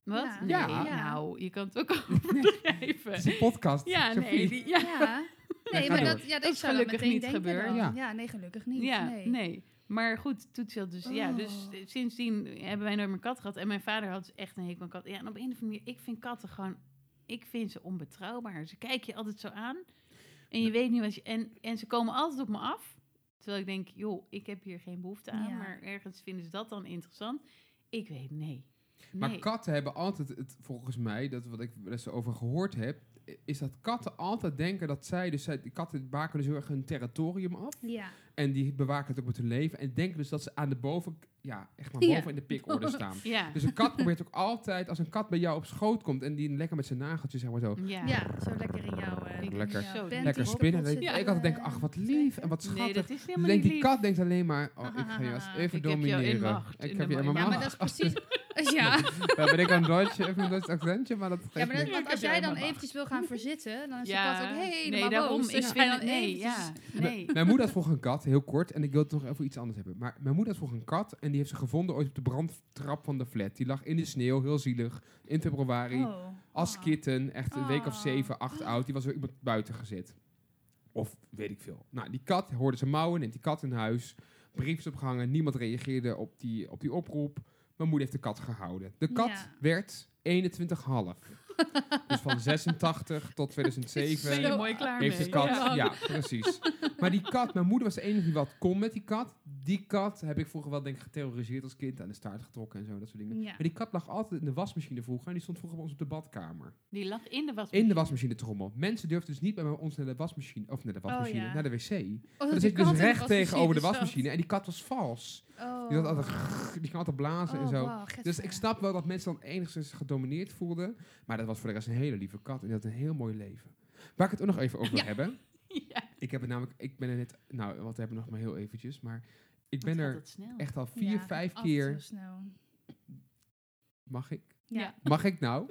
Speaker 4: Wat?
Speaker 2: Ja.
Speaker 4: Nee,
Speaker 3: Ja.
Speaker 4: nou, je kan het ook
Speaker 3: Dat is
Speaker 4: overdrijven.
Speaker 3: een podcast.
Speaker 4: Ja,
Speaker 3: Sophie.
Speaker 4: nee, die, ja.
Speaker 2: Ja. Nee,
Speaker 3: ga
Speaker 2: maar
Speaker 3: door.
Speaker 2: dat, ja, dat
Speaker 4: is
Speaker 2: zou dan
Speaker 4: gelukkig
Speaker 2: meteen
Speaker 4: niet
Speaker 2: denken
Speaker 4: gebeurd.
Speaker 2: dan.
Speaker 3: Ja.
Speaker 2: Ja. nee, gelukkig niet.
Speaker 4: Ja, nee.
Speaker 2: nee.
Speaker 4: Maar goed, Toetsie had dus... Ja, dus
Speaker 2: Oh.
Speaker 4: eh, sindsdien hebben wij nooit meer kat gehad. En mijn vader had dus echt een hekel aan katten. Ja, en op een of andere manier, ik vind katten gewoon... Ik vind ze onbetrouwbaar. Ze kijken je altijd zo aan. En je weet niet wat je... En, en ze komen altijd op me af. Terwijl ik denk, joh, ik heb hier geen behoefte aan.
Speaker 2: Ja.
Speaker 4: Maar ergens vinden ze dat dan interessant. Ik weet, nee.
Speaker 3: Maar
Speaker 4: Nee.
Speaker 3: katten hebben altijd, het, volgens mij, dat wat ik er eens over gehoord heb, i- is dat katten altijd denken dat zij, dus zij, die katten baken dus heel erg hun territorium af.
Speaker 2: Ja.
Speaker 3: En die bewaken het ook met hun leven. En denken dus dat ze aan de boven, ja, echt maar
Speaker 2: Ja.
Speaker 3: boven in de pikorde staan.
Speaker 4: Ja.
Speaker 3: Dus een kat probeert ook altijd, als een kat bij jou op schoot komt en die lekker met zijn nageltjes, zeg maar zo,
Speaker 4: Ja.
Speaker 2: ja, zo lekker in jouw... eh,
Speaker 4: Ik-
Speaker 3: Lekker.
Speaker 2: jouw
Speaker 4: Zo
Speaker 2: panty
Speaker 3: lekker
Speaker 2: op-
Speaker 3: spinnen.
Speaker 2: op
Speaker 3: Dat
Speaker 2: zitten,
Speaker 3: ik altijd denk,
Speaker 2: eh,
Speaker 3: ach, wat lief en wat
Speaker 4: Nee,
Speaker 3: schattig.
Speaker 4: dat is
Speaker 3: Dan
Speaker 4: helemaal
Speaker 3: denkt Dus
Speaker 4: niet
Speaker 3: die
Speaker 4: lief.
Speaker 3: kat denkt alleen maar, oh, ik ga je als even
Speaker 4: Ik heb jou in
Speaker 3: domineren.
Speaker 4: macht,
Speaker 3: ik
Speaker 4: in
Speaker 3: heb
Speaker 4: de
Speaker 3: je in
Speaker 4: ma-
Speaker 3: mijn
Speaker 2: Ja, maar
Speaker 3: macht.
Speaker 2: dat is precies... Ja,
Speaker 3: Ja, ben ik aan Duits, even een Duits accentje, maar dat geeft
Speaker 2: ja maar dat-
Speaker 3: niks.
Speaker 2: want als
Speaker 4: Ja,
Speaker 2: jij dan
Speaker 4: maar-
Speaker 2: eventjes wil gaan verzitten, dan is
Speaker 4: Ja.
Speaker 2: je kat ook helemaal
Speaker 4: Nee, daarom.
Speaker 2: boos.
Speaker 4: Ik
Speaker 2: Dus
Speaker 4: vind
Speaker 2: dan
Speaker 4: het nee.
Speaker 2: eventjes-
Speaker 4: Ja. Nee.
Speaker 3: Mijn moeder had vroeger een kat, heel kort, en ik wil het nog even iets anders hebben. Maar mijn moeder had vroeger een kat en die heeft ze gevonden ooit op de brandtrap van de flat. Die lag in de sneeuw, heel zielig, in februari,
Speaker 2: Oh.
Speaker 3: als
Speaker 2: Ah.
Speaker 3: kitten, echt een week of
Speaker 2: Ah.
Speaker 3: zeven, acht oud. Die was door iemand buiten gezet. Of weet ik veel. Nou, die kat hoorde ze mouwen, neemt die kat in huis, briefs opgehangen, niemand reageerde op die, op die oproep. Mijn moeder heeft de kat gehouden. De kat
Speaker 2: Ja.
Speaker 3: werd 21,5. dus van 86 tot 2007.
Speaker 4: Ben je mooi klaar
Speaker 3: Heeft
Speaker 4: mee.
Speaker 3: de kat, ja.
Speaker 4: Ja.
Speaker 3: precies. Maar die kat, mijn moeder was de enige die wat kon met die kat. Die kat heb ik vroeger wel denk ik geterroriseerd als kind, aan de staart getrokken en zo, dat soort dingen.
Speaker 2: Ja.
Speaker 3: Maar die kat lag altijd in de wasmachine vroeger en die stond vroeger bij ons op de badkamer.
Speaker 4: Die lag in de wasmachine.
Speaker 3: In de wasmachine trommel. Mensen durfden dus niet bij ons naar de wasmachine, of naar de wasmachine,
Speaker 2: Oh, ja.
Speaker 3: naar de wc. Maar
Speaker 2: Oh,
Speaker 3: Dan
Speaker 2: die
Speaker 3: zit je
Speaker 2: kat
Speaker 3: dus
Speaker 2: in de
Speaker 3: recht
Speaker 2: wasmachine
Speaker 3: tegenover de
Speaker 2: zat.
Speaker 3: wasmachine en die kat was vals.
Speaker 2: Oh.
Speaker 3: Die, had altijd, grrr, die kon altijd blazen en
Speaker 2: Oh,
Speaker 3: zo.
Speaker 2: wauw,
Speaker 3: Dus
Speaker 2: gisteren.
Speaker 3: ik snap wel dat mensen dan enigszins gedomineerd voelden. Maar dat was voor de rest een hele lieve kat. En die had een heel mooi leven. Waar ik het ook nog even over wil
Speaker 2: Ja.
Speaker 3: hebben.
Speaker 4: Ja.
Speaker 3: Ik heb het namelijk... Ik ben er net... Nou, wat hebben we nog maar heel eventjes. Maar ik ben
Speaker 4: Wat gaat
Speaker 3: er
Speaker 4: dat snel.
Speaker 3: echt al vier,
Speaker 2: Ja,
Speaker 3: vijf
Speaker 2: af en toe
Speaker 3: keer...
Speaker 2: snel.
Speaker 3: Mag ik?
Speaker 2: Ja.
Speaker 3: Mag ik nou?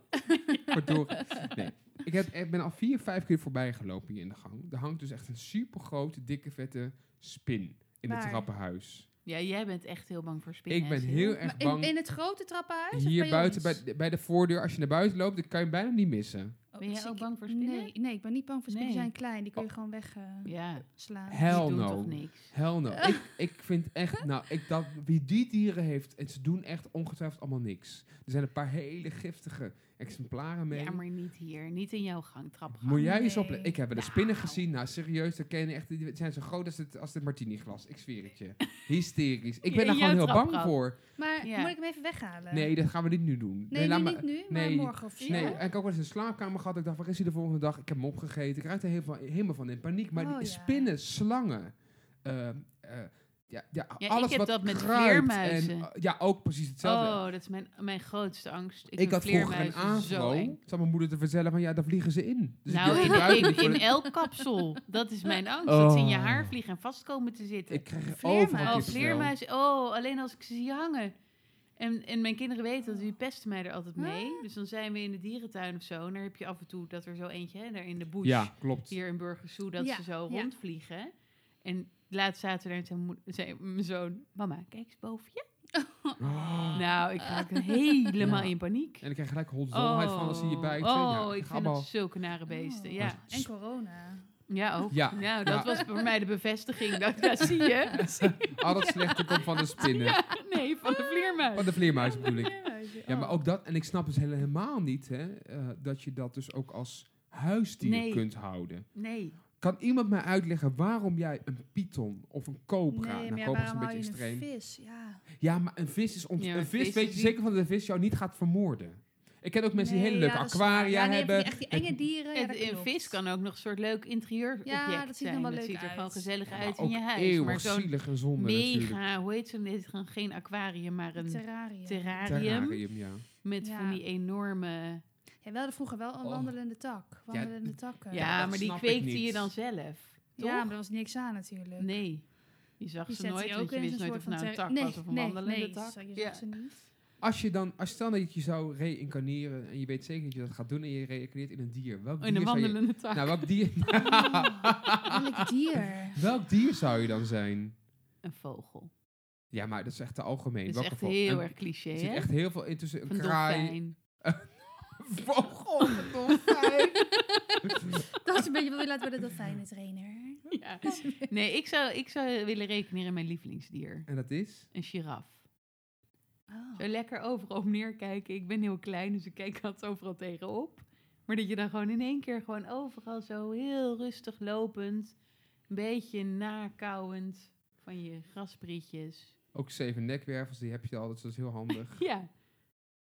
Speaker 3: Verdorie. Nee. Ik, heb, ik ben al vier, vijf keer voorbij gelopen hier in de gang. Er hangt dus echt een supergrote, dikke, vette spin in het
Speaker 2: Waar?
Speaker 3: trappenhuis.
Speaker 4: Ja, jij bent echt heel bang voor spinnen.
Speaker 3: ik ben
Speaker 4: Sil.
Speaker 3: heel erg
Speaker 2: Maar in,
Speaker 3: bang.
Speaker 2: in het grote trappenhuis? of
Speaker 3: hier
Speaker 2: bij
Speaker 3: buiten,
Speaker 2: ons?
Speaker 3: bij,
Speaker 4: Oh,
Speaker 3: de- bij de voordeur, als je naar buiten loopt, dan kan je hem bijna niet missen.
Speaker 2: Oh,
Speaker 4: Ben jij
Speaker 2: dus
Speaker 4: ook
Speaker 2: ik-
Speaker 4: bang voor spinnen?
Speaker 2: Nee, nee, ik ben niet bang voor spinnen. Die
Speaker 4: Nee. Oh.
Speaker 2: zijn klein, die kun je gewoon wegslaan.
Speaker 4: Ja,
Speaker 2: slaan.
Speaker 3: Hell
Speaker 4: die doen
Speaker 3: no.
Speaker 4: toch niks.
Speaker 3: Hell no. ik, ik vind echt, nou, ik dat, wie die dieren heeft, en ze doen echt ongetwijfeld allemaal niks. Er zijn een paar hele giftige. exemplaren mee.
Speaker 4: Ja, maar niet hier. Niet in jouw gang, trapgang.
Speaker 3: Moet jij eens
Speaker 2: Nee.
Speaker 3: opletten. Ik heb wel eens
Speaker 4: Nou.
Speaker 3: spinnen gezien. Nou, serieus, dat kennen echt, die zijn zo groot als dit, als dit martini-glas. Ik zweer het je. Hysterisch. Ik ben
Speaker 4: In
Speaker 3: daar gewoon
Speaker 4: jouw
Speaker 3: heel bang
Speaker 4: traptrap.
Speaker 3: voor.
Speaker 2: Maar
Speaker 4: Ja.
Speaker 2: moet ik hem even weghalen?
Speaker 3: Nee, dat gaan we niet nu doen.
Speaker 2: nee,
Speaker 3: laat
Speaker 2: nu
Speaker 3: maar-
Speaker 2: niet nu, maar
Speaker 3: nee.
Speaker 2: morgen of zo.
Speaker 3: Nee,
Speaker 2: Ja.
Speaker 3: en ik heb ook wel eens een slaapkamer gehad. Ik dacht, waar is hij de volgende dag? Ik heb hem opgegeten. Ik raakte heel van, helemaal van in paniek. Maar
Speaker 2: Oh,
Speaker 3: die
Speaker 2: ja.
Speaker 3: spinnen, slangen, eh, eh, ja, ja,
Speaker 4: Ja,
Speaker 3: alles
Speaker 4: ik heb
Speaker 3: wat
Speaker 4: dat met
Speaker 3: kruipt
Speaker 4: vleermuizen.
Speaker 3: En, eh, ja, ook precies hetzelfde.
Speaker 4: Oh, dat is mijn, mijn grootste angst.
Speaker 3: ik
Speaker 4: vind
Speaker 3: had vroeger een
Speaker 4: vleermuizen zo
Speaker 3: aanval.
Speaker 4: eng.
Speaker 3: Zat mijn moeder te vertellen van, ja, daar vliegen ze in. Dus
Speaker 4: nou,
Speaker 3: ik, durfde
Speaker 4: in,
Speaker 3: buiten niet
Speaker 4: ik,
Speaker 3: voor
Speaker 4: in
Speaker 3: de-
Speaker 4: elk kapsel. Dat is mijn angst. Dat ze in je
Speaker 3: Oh.
Speaker 4: haar vliegen en vast komen te zitten.
Speaker 3: ik kreeg
Speaker 2: Vleermuizen.
Speaker 3: overal
Speaker 4: oh,
Speaker 2: kippenvel.
Speaker 3: kippenvel.
Speaker 4: vleermuizen. Oh, alleen als ik ze zie hangen. En, en mijn kinderen weten dat, die pesten mij er altijd mee. Dus dan zijn we in de dierentuin of zo. En daar heb je af en toe dat er zo eentje, hè, daar in de bush.
Speaker 3: Ja, klopt.
Speaker 4: hier in Burgersoe dat
Speaker 2: Ja,
Speaker 4: ze zo
Speaker 2: ja.
Speaker 4: rondvliegen. En laatst zaten we daar en zei moe- zei mijn zoon... Mama, kijk eens boven je.
Speaker 3: Oh.
Speaker 4: Nou, ik raakte helemaal
Speaker 3: Ja.
Speaker 4: in paniek.
Speaker 3: En ik krijg gelijk holzolheid van als hij je bijt. ja,
Speaker 4: oh, ik vind
Speaker 3: allemaal-
Speaker 4: dat zulke nare beesten.
Speaker 2: Oh.
Speaker 4: Ja.
Speaker 2: En corona.
Speaker 4: ja, ook.
Speaker 3: Ja.
Speaker 4: Nou, dat
Speaker 3: Ja.
Speaker 4: was voor mij de bevestiging. Dat, ja, zie je. Zie je?
Speaker 3: Al dat slechte komt van de spinnen.
Speaker 4: Ja, nee, van Ah. Oh, de vleermuis.
Speaker 3: Van de vleermuis bedoel ik.
Speaker 2: Vleermuizen,
Speaker 3: Ja,
Speaker 2: oh.
Speaker 3: maar ook dat, en ik snap dus helemaal niet hè, eh, dat je dat dus ook als huisdier
Speaker 4: Nee.
Speaker 3: kunt houden.
Speaker 4: Nee.
Speaker 3: Kan iemand mij uitleggen waarom jij een python of een cobra,
Speaker 2: Nee, maar
Speaker 3: nou
Speaker 2: ja,
Speaker 3: cobra is
Speaker 2: waarom
Speaker 3: een
Speaker 2: hou je
Speaker 3: beetje extreem.
Speaker 2: een vis? Ja.
Speaker 3: Ja, maar een vis is ont-
Speaker 4: Ja, maar
Speaker 3: een vis,
Speaker 4: vis
Speaker 3: weet
Speaker 4: is
Speaker 3: je
Speaker 4: die-
Speaker 3: zeker van dat een vis jou niet gaat vermoorden. Ik ken ook mensen die
Speaker 2: Nee,
Speaker 3: hele leuke
Speaker 2: ja, dat is waar.
Speaker 3: aquaria
Speaker 2: ja, nee, van
Speaker 3: hebben.
Speaker 2: die Echt die enge dieren. Ja,
Speaker 4: Het-
Speaker 2: dat
Speaker 4: een
Speaker 2: klopt.
Speaker 4: vis kan ook nog een soort leuk interieur
Speaker 2: Ja, dat ziet er
Speaker 4: zijn.
Speaker 2: wel
Speaker 4: dat
Speaker 2: leuk
Speaker 4: ziet er gewoon
Speaker 2: uit.
Speaker 4: gezellig
Speaker 3: Ja, maar
Speaker 4: uit
Speaker 3: ook
Speaker 4: in je huis.
Speaker 3: eeuwig
Speaker 4: Maar zo'n
Speaker 3: zielig en zonde natuurlijk.
Speaker 4: mega, hoe heet zo'n, dit is gewoon geen aquarium, maar een
Speaker 2: Terrarium.
Speaker 4: terrarium.
Speaker 3: Terrarium, ja.
Speaker 4: Met
Speaker 2: Ja.
Speaker 4: van die enorme...
Speaker 2: Ja, we hadden vroeger wel een
Speaker 3: Oh.
Speaker 2: wandelende tak. Wandelende takken.
Speaker 4: Ja,
Speaker 3: Ja, dat
Speaker 4: maar die
Speaker 3: snap ik
Speaker 4: kweekte
Speaker 3: niet.
Speaker 4: je dan zelf. Toch?
Speaker 2: Ja, maar er was niks aan natuurlijk.
Speaker 4: nee. Je zag
Speaker 2: Je
Speaker 4: ze
Speaker 2: zet
Speaker 4: nooit,
Speaker 2: die
Speaker 4: want
Speaker 2: ook
Speaker 4: je
Speaker 2: in
Speaker 4: wist
Speaker 2: zo'n
Speaker 4: nooit
Speaker 2: soort
Speaker 4: of
Speaker 2: van
Speaker 4: het nou een
Speaker 2: ter- nee,
Speaker 4: tak was of een
Speaker 2: nee,
Speaker 4: wandelende
Speaker 2: nee,
Speaker 4: tak.
Speaker 2: zo- Je zag
Speaker 4: Ja.
Speaker 2: ze niet.
Speaker 3: Als je dan, als stel dat je zou reïncarneren en je weet zeker dat je dat gaat doen en je reïncarneert in een dier. Welk
Speaker 2: Oh,
Speaker 4: In
Speaker 3: dier
Speaker 4: een
Speaker 3: zou je,
Speaker 4: wandelende tak.
Speaker 3: nou, welk dier,
Speaker 2: Welk dier?
Speaker 3: welk dier zou je dan zijn?
Speaker 4: een vogel.
Speaker 3: Ja, maar dat is echt te algemeen.
Speaker 4: Dat is
Speaker 3: Welke
Speaker 4: echt
Speaker 3: vogel?
Speaker 4: heel
Speaker 3: Een-
Speaker 4: erg cliché,
Speaker 3: Er zit
Speaker 4: hè?
Speaker 3: echt heel veel in tussen een
Speaker 4: Een
Speaker 3: kraai,
Speaker 4: dolfijn.
Speaker 3: een vogel, een dolfijn.
Speaker 2: Dat is een beetje wat we laten worden dolfijnentrainer.
Speaker 4: Ja. Nee, ik zou, ik zou willen rekenen in mijn lievelingsdier.
Speaker 3: en dat is?
Speaker 4: Een giraf.
Speaker 2: Oh.
Speaker 4: Zo lekker overal op neerkijken. Ik ben heel klein, dus ik kijk altijd overal tegenop. Maar dat je dan gewoon in één keer gewoon overal zo heel rustig lopend, een beetje nakauwend van je grasprietjes.
Speaker 3: Ook zeven nekwervels, die heb je al, dus dat is heel handig.
Speaker 4: Ja.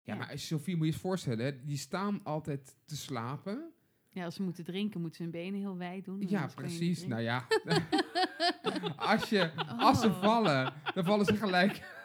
Speaker 3: Ja, maar Sofie, moet je eens voorstellen, hè, die staan altijd te
Speaker 4: Hmm,
Speaker 3: slapen.
Speaker 4: ja, als ze moeten drinken, moeten ze hun benen heel wijd doen.
Speaker 3: Ja,
Speaker 4: anders kan je niet
Speaker 3: precies.
Speaker 4: drinken.
Speaker 3: Nou ja, als, je, als ze
Speaker 4: Oh.
Speaker 3: vallen, dan vallen ze gelijk...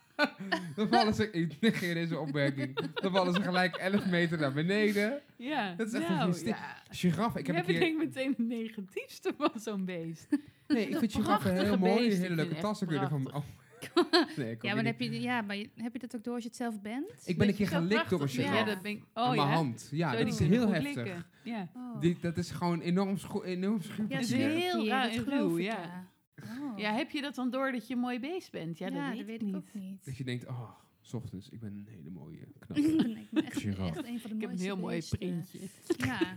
Speaker 3: dan vallen ze... Ik negeer deze opmerking. Dan vallen ze gelijk 11 meter naar beneden.
Speaker 4: Ja,
Speaker 3: Dat is echt
Speaker 4: nou,
Speaker 3: een stik-
Speaker 4: ja.
Speaker 3: Giraf, ik heb
Speaker 4: Jij
Speaker 3: een keer...
Speaker 4: bedenkt meteen het negatiefste van zo'n beest.
Speaker 3: Nee, ik vind giraffen
Speaker 4: Prachtige
Speaker 3: heel mooi.
Speaker 4: beesten,
Speaker 3: Hele
Speaker 4: ik
Speaker 3: leuke
Speaker 4: vind het
Speaker 3: tassen
Speaker 4: echt
Speaker 3: kunnen van... Oh. Nee, ik
Speaker 2: Ja, maar
Speaker 3: ook niet.
Speaker 2: heb je, ja, maar je- heb je dat ook door als je het zelf bent?
Speaker 3: Ik ben een
Speaker 4: Dat
Speaker 3: keer
Speaker 4: je zo
Speaker 3: gelikt door een
Speaker 4: prachtig-
Speaker 3: giraf.
Speaker 4: Ja, dat ben ik... Oh,
Speaker 3: Aan mijn
Speaker 4: ja.
Speaker 3: hand. Ja,
Speaker 4: Zo,
Speaker 3: dat
Speaker 4: die
Speaker 3: is
Speaker 4: kunnen
Speaker 3: heel
Speaker 4: goed
Speaker 3: heftig.
Speaker 4: likken. Ja.
Speaker 2: Oh.
Speaker 3: Die, dat is gewoon enorm, scho- enorm
Speaker 2: Ja,
Speaker 3: schuurplezier.
Speaker 4: is
Speaker 2: dat
Speaker 4: heel
Speaker 2: weet ik niet,
Speaker 4: raar
Speaker 2: dat
Speaker 4: en
Speaker 2: geloof
Speaker 4: ruw,
Speaker 2: ik,
Speaker 4: ja.
Speaker 2: Oh.
Speaker 4: Ja, heb je dat dan door dat je een mooi beest bent? Ja, dat weet, ik niet.
Speaker 2: ook niet.
Speaker 3: Dat je denkt, oh, s ochtends, ik ben een hele mooie
Speaker 2: ik
Speaker 3: knappe.
Speaker 2: ben echt- echt een van de mooiste
Speaker 3: Giraf.
Speaker 4: Ik heb een heel mooi
Speaker 2: beesten.
Speaker 4: printje.
Speaker 2: Ja,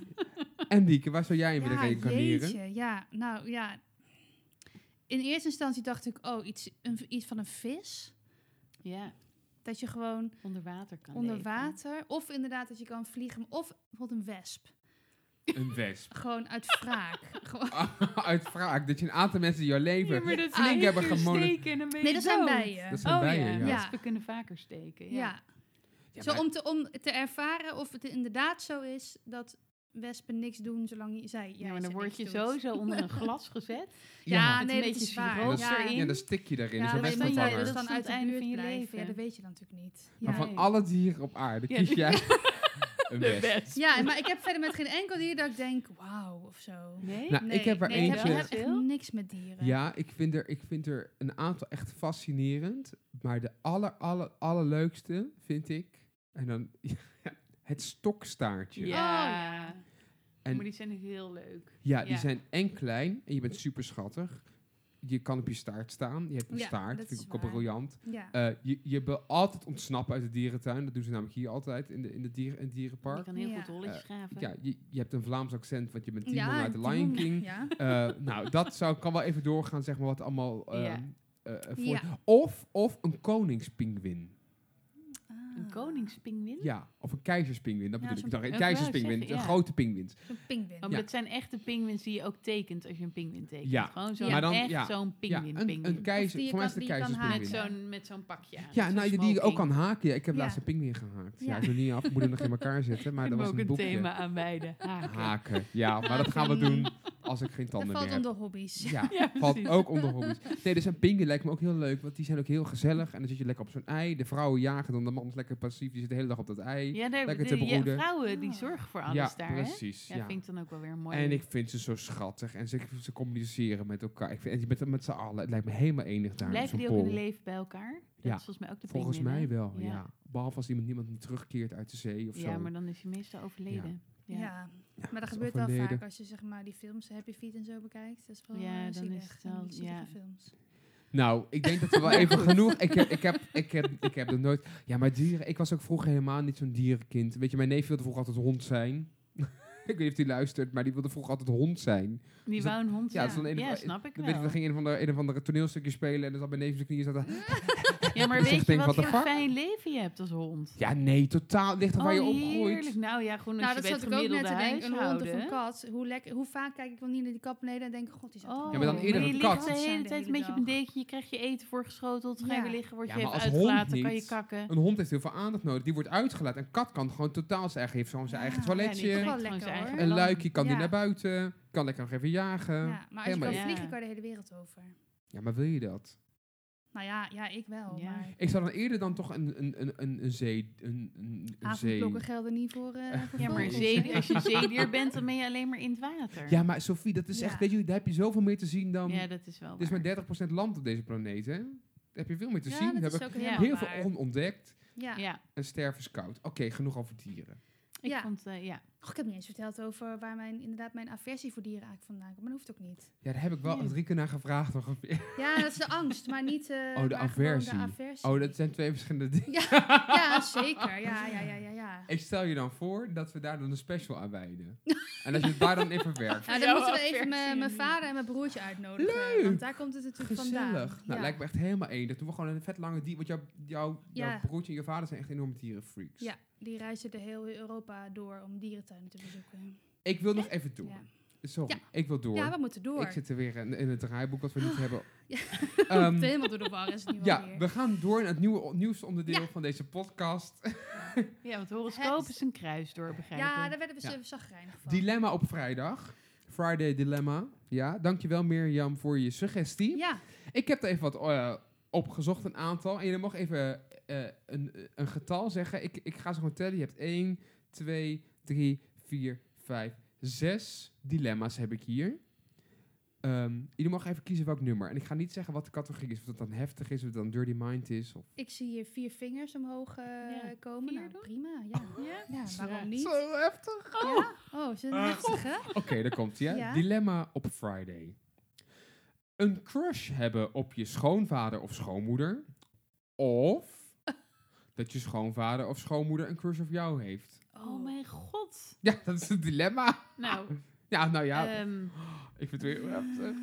Speaker 3: en Dieke, waar zou jij in willen
Speaker 2: ja
Speaker 3: reïncarneren?
Speaker 2: jeetje. Ja, nou ja. In eerste instantie dacht ik, oh, iets, een, iets van een vis.
Speaker 4: Ja,
Speaker 2: Dat je gewoon
Speaker 4: onder water kan
Speaker 2: onder
Speaker 4: leven.
Speaker 2: water, of inderdaad dat je kan vliegen. Of bijvoorbeeld een wesp.
Speaker 3: Een wesp.
Speaker 2: Gewoon uit wraak. Gewoon-
Speaker 3: Uit wraak, dat je een aantal mensen jouw leven...
Speaker 4: Ja, maar dat
Speaker 3: Flink
Speaker 4: flink
Speaker 3: hebben
Speaker 4: hebben
Speaker 3: gemono-
Speaker 4: Steken, en dan ben je
Speaker 2: nee, dat zijn
Speaker 4: dood.
Speaker 2: bijen.
Speaker 3: Dat zijn
Speaker 4: Oh
Speaker 3: bijen,
Speaker 4: ja,
Speaker 3: ja.
Speaker 2: Ja.
Speaker 4: wespen kunnen vaker steken. Ja.
Speaker 2: ja.
Speaker 3: Ja,
Speaker 2: zo
Speaker 3: maar-
Speaker 2: om, te, om te ervaren of het inderdaad zo is dat wespen niks doen zolang je, zij.
Speaker 4: Ja,
Speaker 2: jij
Speaker 4: maar dan
Speaker 2: ze
Speaker 4: word
Speaker 2: niks
Speaker 4: je
Speaker 2: doet.
Speaker 4: sowieso onder een glas gezet.
Speaker 2: Ja,
Speaker 4: met
Speaker 2: nee,
Speaker 4: een
Speaker 2: dat
Speaker 4: beetje
Speaker 2: is waar.
Speaker 4: siroop
Speaker 3: Ja,
Speaker 4: erin.
Speaker 3: Ja, dan stik je daarin.
Speaker 2: Ja, dan
Speaker 3: Zo'n
Speaker 4: best
Speaker 2: moet
Speaker 4: wel
Speaker 2: je
Speaker 4: waar.
Speaker 2: dus
Speaker 3: wespenvanger.
Speaker 4: Dat
Speaker 2: dan
Speaker 4: is aan
Speaker 2: uit de
Speaker 4: het einde
Speaker 2: buurt
Speaker 4: van je
Speaker 2: blijven.
Speaker 4: leven.
Speaker 2: Ja, dat weet je dan natuurlijk niet. Ja.
Speaker 3: Maar van
Speaker 4: Nee.
Speaker 3: alle dieren op aarde
Speaker 4: Ja,
Speaker 3: kies
Speaker 4: die-
Speaker 3: jij een
Speaker 4: De
Speaker 3: wesp.
Speaker 4: wesp.
Speaker 2: Ja, maar ik heb verder met geen enkel dier dat ik denk, wauw, of zo.
Speaker 4: Nee?
Speaker 3: Nou, ik heb er
Speaker 2: nee,
Speaker 4: eentje-
Speaker 2: Ik heb, ik heb echt niks met dieren.
Speaker 3: Ja, ik vind, er, ik vind er een aantal echt fascinerend. Maar de aller, aller, allerleukste vind ik... En dan... het stokstaartje.
Speaker 4: ja.
Speaker 3: En-
Speaker 4: maar die zijn dus heel leuk.
Speaker 3: Ja, die
Speaker 4: Ja.
Speaker 3: zijn en klein en je bent super schattig. Je kan op je staart staan. Je hebt een
Speaker 2: Ja,
Speaker 3: staart,
Speaker 2: dat
Speaker 3: vind
Speaker 2: is
Speaker 3: ik ook
Speaker 2: waar.
Speaker 3: briljant.
Speaker 2: Ja.
Speaker 3: Eh, je, je wil altijd ontsnappen uit de dierentuin. Dat doen ze namelijk hier altijd in, de, in, de dieren, in het
Speaker 4: Je
Speaker 3: dierenpark.
Speaker 4: kan heel
Speaker 2: Ja.
Speaker 4: goed rolletjes
Speaker 3: Eh,
Speaker 4: graven.
Speaker 3: Ja, je, je hebt een Vlaams accent, want je bent Timon
Speaker 2: Ja,
Speaker 3: uit de Lion
Speaker 2: Timon,
Speaker 3: King.
Speaker 2: Ja.
Speaker 3: Eh, nou, dat zou, kan wel even doorgaan, zeg maar, wat allemaal... ehm,
Speaker 4: Ja.
Speaker 3: eh, eh, voor-
Speaker 2: Ja.
Speaker 3: Of, of een koningspinguïn.
Speaker 2: Ah.
Speaker 4: Een koningspinguïn?
Speaker 3: Ja, of een keizerspinguïn, dat
Speaker 2: Ja,
Speaker 3: bedoel
Speaker 2: zo'n-
Speaker 3: ik. Ik dacht, Een
Speaker 4: Ik wou
Speaker 3: keizerspinguïn, een
Speaker 4: zeggen, ja.
Speaker 3: grote pinguïns.
Speaker 2: Zo'n pinguïn.
Speaker 4: Oh, maar dat zijn echte pinguïns die je ook tekent als je een pinguïn tekent.
Speaker 3: Ja,
Speaker 4: Gewoon zo'n
Speaker 2: maar
Speaker 3: dan-
Speaker 4: echt
Speaker 3: ja,
Speaker 4: zo'n
Speaker 3: Ja,
Speaker 4: pinguïn
Speaker 3: een, een
Speaker 2: Of die
Speaker 3: keizer,
Speaker 2: je
Speaker 3: voor mij is
Speaker 2: kan-
Speaker 3: het een
Speaker 2: die je kan
Speaker 4: Met
Speaker 3: keizerspinguïn.
Speaker 2: haken.
Speaker 4: zo'n met zo'n pakje aan.
Speaker 3: Ja,
Speaker 4: Zo'n
Speaker 3: nou, die je ook kan
Speaker 4: smoking.
Speaker 3: haken. Ja, ik heb
Speaker 2: Ja.
Speaker 3: laatst een pinguïn gehaakt. Ja,
Speaker 2: Ja.
Speaker 3: ik is nog niet af. Ik moet hem nog in elkaar zetten, maar
Speaker 4: Ik
Speaker 3: dat was
Speaker 4: heb ook
Speaker 3: een
Speaker 4: een
Speaker 3: boekje.
Speaker 4: thema aanwijden. Haken.
Speaker 3: Haken. Ja, maar dat gaan we doen als ik geen
Speaker 2: dat
Speaker 3: tanden
Speaker 2: valt
Speaker 3: meer heb.
Speaker 2: onder hobby's.
Speaker 3: Ja,
Speaker 4: Ja,
Speaker 3: valt
Speaker 4: precies.
Speaker 3: ook onder hobby's. Nee, dus een pinguïn lijkt me ook heel leuk, want die zijn ook heel gezellig. En dan zit je lekker op zo'n ei. De vrouwen jagen dan, de man is lekker passief. Die zit de hele dag op dat ei.
Speaker 4: Ja, daar,
Speaker 3: Lekker
Speaker 4: de,
Speaker 3: te
Speaker 4: ja,
Speaker 3: broeden.
Speaker 4: vrouwen die zorgen voor alles
Speaker 3: ja,
Speaker 4: daar, hè?
Speaker 3: precies.
Speaker 4: Ja,
Speaker 3: ja.
Speaker 4: vind ik dan ook wel weer mooi.
Speaker 3: En ik vind ze zo schattig. En ze, ze communiceren met elkaar. Ik vind, en met, met z'n allen. Het lijkt me helemaal enig daar. op zo'n
Speaker 4: Blijven die ook in
Speaker 3: pool.
Speaker 4: leven bij elkaar? Dat
Speaker 3: Ja,
Speaker 4: is volgens mij ook de
Speaker 3: Volgens
Speaker 4: pinguïn, hè?
Speaker 3: mij wel, ja. Behalve als iemand niemand niet terugkeert uit de zee of zo.
Speaker 4: Ja, maar dan is hij meestal overleden.
Speaker 2: Ja.
Speaker 4: Ja, ja.
Speaker 2: maar
Speaker 3: dat
Speaker 2: dat
Speaker 3: is
Speaker 2: gebeurt wel
Speaker 3: overleden.
Speaker 2: vaak als je zeg maar die films Happy Feet en zo bekijkt. Dat is wel
Speaker 4: Ja,
Speaker 2: ja,
Speaker 4: dan
Speaker 2: zielig.
Speaker 4: is het
Speaker 2: Dan
Speaker 4: wel-
Speaker 2: die zielige
Speaker 4: ja.
Speaker 2: films.
Speaker 3: Nou, ik denk dat we wel even genoeg... Ik heb, ik, heb, ik, heb, ik heb er nooit... Ja, maar dieren... Ik was ook vroeger helemaal niet zo'n dierenkind. Weet je, mijn neef wilde vroeger altijd hond zijn. ik weet niet of hij luistert, maar die wilde vroeger altijd hond zijn.
Speaker 4: Die
Speaker 3: Dus dat-
Speaker 4: wou een hond.
Speaker 3: ja,
Speaker 4: Ja,
Speaker 3: dat is dan een of-
Speaker 4: Ja, snap ik
Speaker 3: Dan weet je,
Speaker 4: wel.
Speaker 3: dan ging een of andere, een of andere toneelstukje spelen en dan zat mijn neef op zijn knieën zaten...
Speaker 4: Ja, maar
Speaker 3: Dus
Speaker 4: weet
Speaker 3: ik
Speaker 4: je
Speaker 3: denk,
Speaker 4: wat
Speaker 3: what
Speaker 4: voor
Speaker 3: the fuck?
Speaker 4: een fijn leven je hebt als hond?
Speaker 3: Ja, nee, totaal. Het Ligt er waar je opgroeit.
Speaker 4: heerlijk. Nou ja, gewoon als
Speaker 2: Nou, dat
Speaker 4: je bij het
Speaker 2: zat ik ook net
Speaker 4: gemiddelde
Speaker 2: te denken. Een hond of
Speaker 4: huishouden.
Speaker 2: een kat. Hoe, lekker, hoe vaak kijk ik wel niet naar die kat beneden en denk ik, god, die zat
Speaker 4: Oh,
Speaker 3: Ja, maar dan eerder
Speaker 4: je
Speaker 3: een
Speaker 4: ligt
Speaker 3: kat.
Speaker 4: de
Speaker 2: Zijn
Speaker 4: hele
Speaker 2: de
Speaker 4: tijd een
Speaker 2: hele
Speaker 4: beetje op een
Speaker 2: dag.
Speaker 4: dekentje, je krijgt je eten voorgeschoteld, ga je
Speaker 2: Ja.
Speaker 4: weer liggen, word
Speaker 3: Ja,
Speaker 4: je
Speaker 3: maar
Speaker 4: even
Speaker 3: als hond
Speaker 4: uitgelaten, kan je
Speaker 3: niet.
Speaker 4: kakken.
Speaker 3: Een hond heeft heel veel aandacht nodig. Die wordt uitgelaten. Een kat kan gewoon totaal zijn eigen. Heeft gewoon zijn
Speaker 2: Ja,
Speaker 3: eigen
Speaker 2: ja, die
Speaker 3: toiletje.
Speaker 2: is toch wel
Speaker 4: Gewoon
Speaker 2: lekker,
Speaker 4: zijn eigen
Speaker 2: hoor.
Speaker 3: Een luikje kan die
Speaker 2: Ja.
Speaker 3: naar buiten. Kan lekker nog even jagen. Ja,
Speaker 2: Ja, maar als je
Speaker 3: Helemaal
Speaker 2: kan
Speaker 4: ja.
Speaker 2: vliegen, kan je de hele wereld over.
Speaker 3: maar wil je dat?
Speaker 2: Nou ja, ja ik wel.
Speaker 4: Ja.
Speaker 2: Maar
Speaker 3: Ik zou dan eerder dan toch een, een, een, een, een zee... Een, een, een zee...
Speaker 2: avondklokken gelden niet voor, eh, voor
Speaker 4: Ja, maar
Speaker 2: vogels.
Speaker 4: zeedier, als je zeedier bent, dan ben je alleen maar in het water.
Speaker 3: Ja, maar Sophie, dat is
Speaker 2: Ja.
Speaker 3: echt... Weet je, daar heb je zoveel meer te zien
Speaker 2: um,
Speaker 3: dan...
Speaker 4: Ja, dat is wel
Speaker 2: dus
Speaker 3: er is
Speaker 4: waar.
Speaker 3: maar 30% land op deze planeet, hè? Daar heb je veel meer te
Speaker 2: Ja,
Speaker 3: zien. Daar
Speaker 2: dat
Speaker 3: heb
Speaker 2: is ook
Speaker 3: ik
Speaker 4: Ja.
Speaker 2: helemaal
Speaker 3: heel
Speaker 2: waar.
Speaker 3: veel onontdekt.
Speaker 2: Ja.
Speaker 4: Ja,
Speaker 3: En sterven is koud. Oké, genoeg over dieren.
Speaker 4: ik
Speaker 2: Ja.
Speaker 4: vond... eh, ja.
Speaker 2: Och, ik heb niet eens verteld over waar mijn, inderdaad mijn aversie voor dieren eigenlijk vandaan komt. Maar dat hoeft ook niet.
Speaker 3: Ja, daar heb ik wel
Speaker 4: Ja.
Speaker 3: een drie keer naar gevraagd. nog.
Speaker 2: Ja, dat is de angst, maar niet eh, maar
Speaker 3: Oh, de
Speaker 2: gewoon
Speaker 3: aversie.
Speaker 2: aversie.
Speaker 3: Oh, dat zijn twee verschillende dingen.
Speaker 2: Ja, zeker. Ja, ja, ja, ja. ja.
Speaker 3: Ik stel je dan voor dat we daar dan een special aan wijden. en als je het daar dan in verwerkt.
Speaker 2: Nou,
Speaker 4: Jouw
Speaker 2: dan moeten we even
Speaker 4: aversie.
Speaker 2: mijn mijn vader en mijn broertje uitnodigen.
Speaker 3: Leuk.
Speaker 2: Want daar komt het natuurlijk vandaan.
Speaker 3: Gezellig. Nou,
Speaker 2: ja.
Speaker 3: lijkt me echt helemaal één. Dat doen we gewoon een vet lange dier. Want jouw, jouw, jouw
Speaker 2: Ja.
Speaker 3: broertje en je vader zijn echt enorme dierenfreaks.
Speaker 2: ja, die reizen de hele Europa door om dierentuinen te bezoeken.
Speaker 3: Ik wil nog even door.
Speaker 2: Ja.
Speaker 3: Sorry,
Speaker 2: Ja.
Speaker 3: ik wil door.
Speaker 2: Ja, we moeten door.
Speaker 3: Ik zit er weer in, in het draaiboek wat we niet hebben.
Speaker 2: Ja.
Speaker 3: Ehm,
Speaker 2: Helemaal door de war is het nu
Speaker 3: ja,
Speaker 2: alweer.
Speaker 3: we gaan door naar het nieuwe, nieuwste onderdeel
Speaker 2: Ja.
Speaker 3: van deze podcast.
Speaker 4: ja, want horoscoop
Speaker 2: Het-
Speaker 4: is een kruis door, begrijp ik.
Speaker 2: Ja, daar werden we
Speaker 3: Ja.
Speaker 2: ja. zagrijnig van.
Speaker 3: Dilemma op vrijdag. Friday Dilemma. Ja, dankjewel Mirjam voor je suggestie.
Speaker 2: Ja,
Speaker 3: Ik heb er even wat eh, opgezocht, een aantal. En jullie mogen even eh, een, een getal zeggen. Ik, ik ga ze gewoon tellen. Je hebt 1, 2, 3, 4, 5, 6 dilemma's heb ik hier. Ehm, jullie mogen even kiezen welk nummer. En ik ga niet zeggen wat de categorie is. Of dat dan heftig is, of dat dan Dirty Mind is. Of...
Speaker 2: ik zie hier vier vingers omhoog eh,
Speaker 4: Ja,
Speaker 2: komen.
Speaker 4: vier
Speaker 2: Nou,
Speaker 4: dan?
Speaker 2: prima. Ja. ja,
Speaker 4: Ja?
Speaker 2: waarom niet?
Speaker 3: Zo heftig.
Speaker 2: Ja? Oh, is het
Speaker 3: Ah.
Speaker 2: een heftige?
Speaker 3: Oké, daar komt ie. hè.
Speaker 2: Ja.
Speaker 3: Dilemma op Friday. Een crush hebben op je schoonvader of schoonmoeder. Of dat je schoonvader of schoonmoeder een crush op jou heeft.
Speaker 4: Oh mijn god.
Speaker 3: Ja, dat is het dilemma.
Speaker 4: Nou,
Speaker 3: Ja, nou ja,
Speaker 4: ehm,
Speaker 3: ik vind het weer eh. heftig.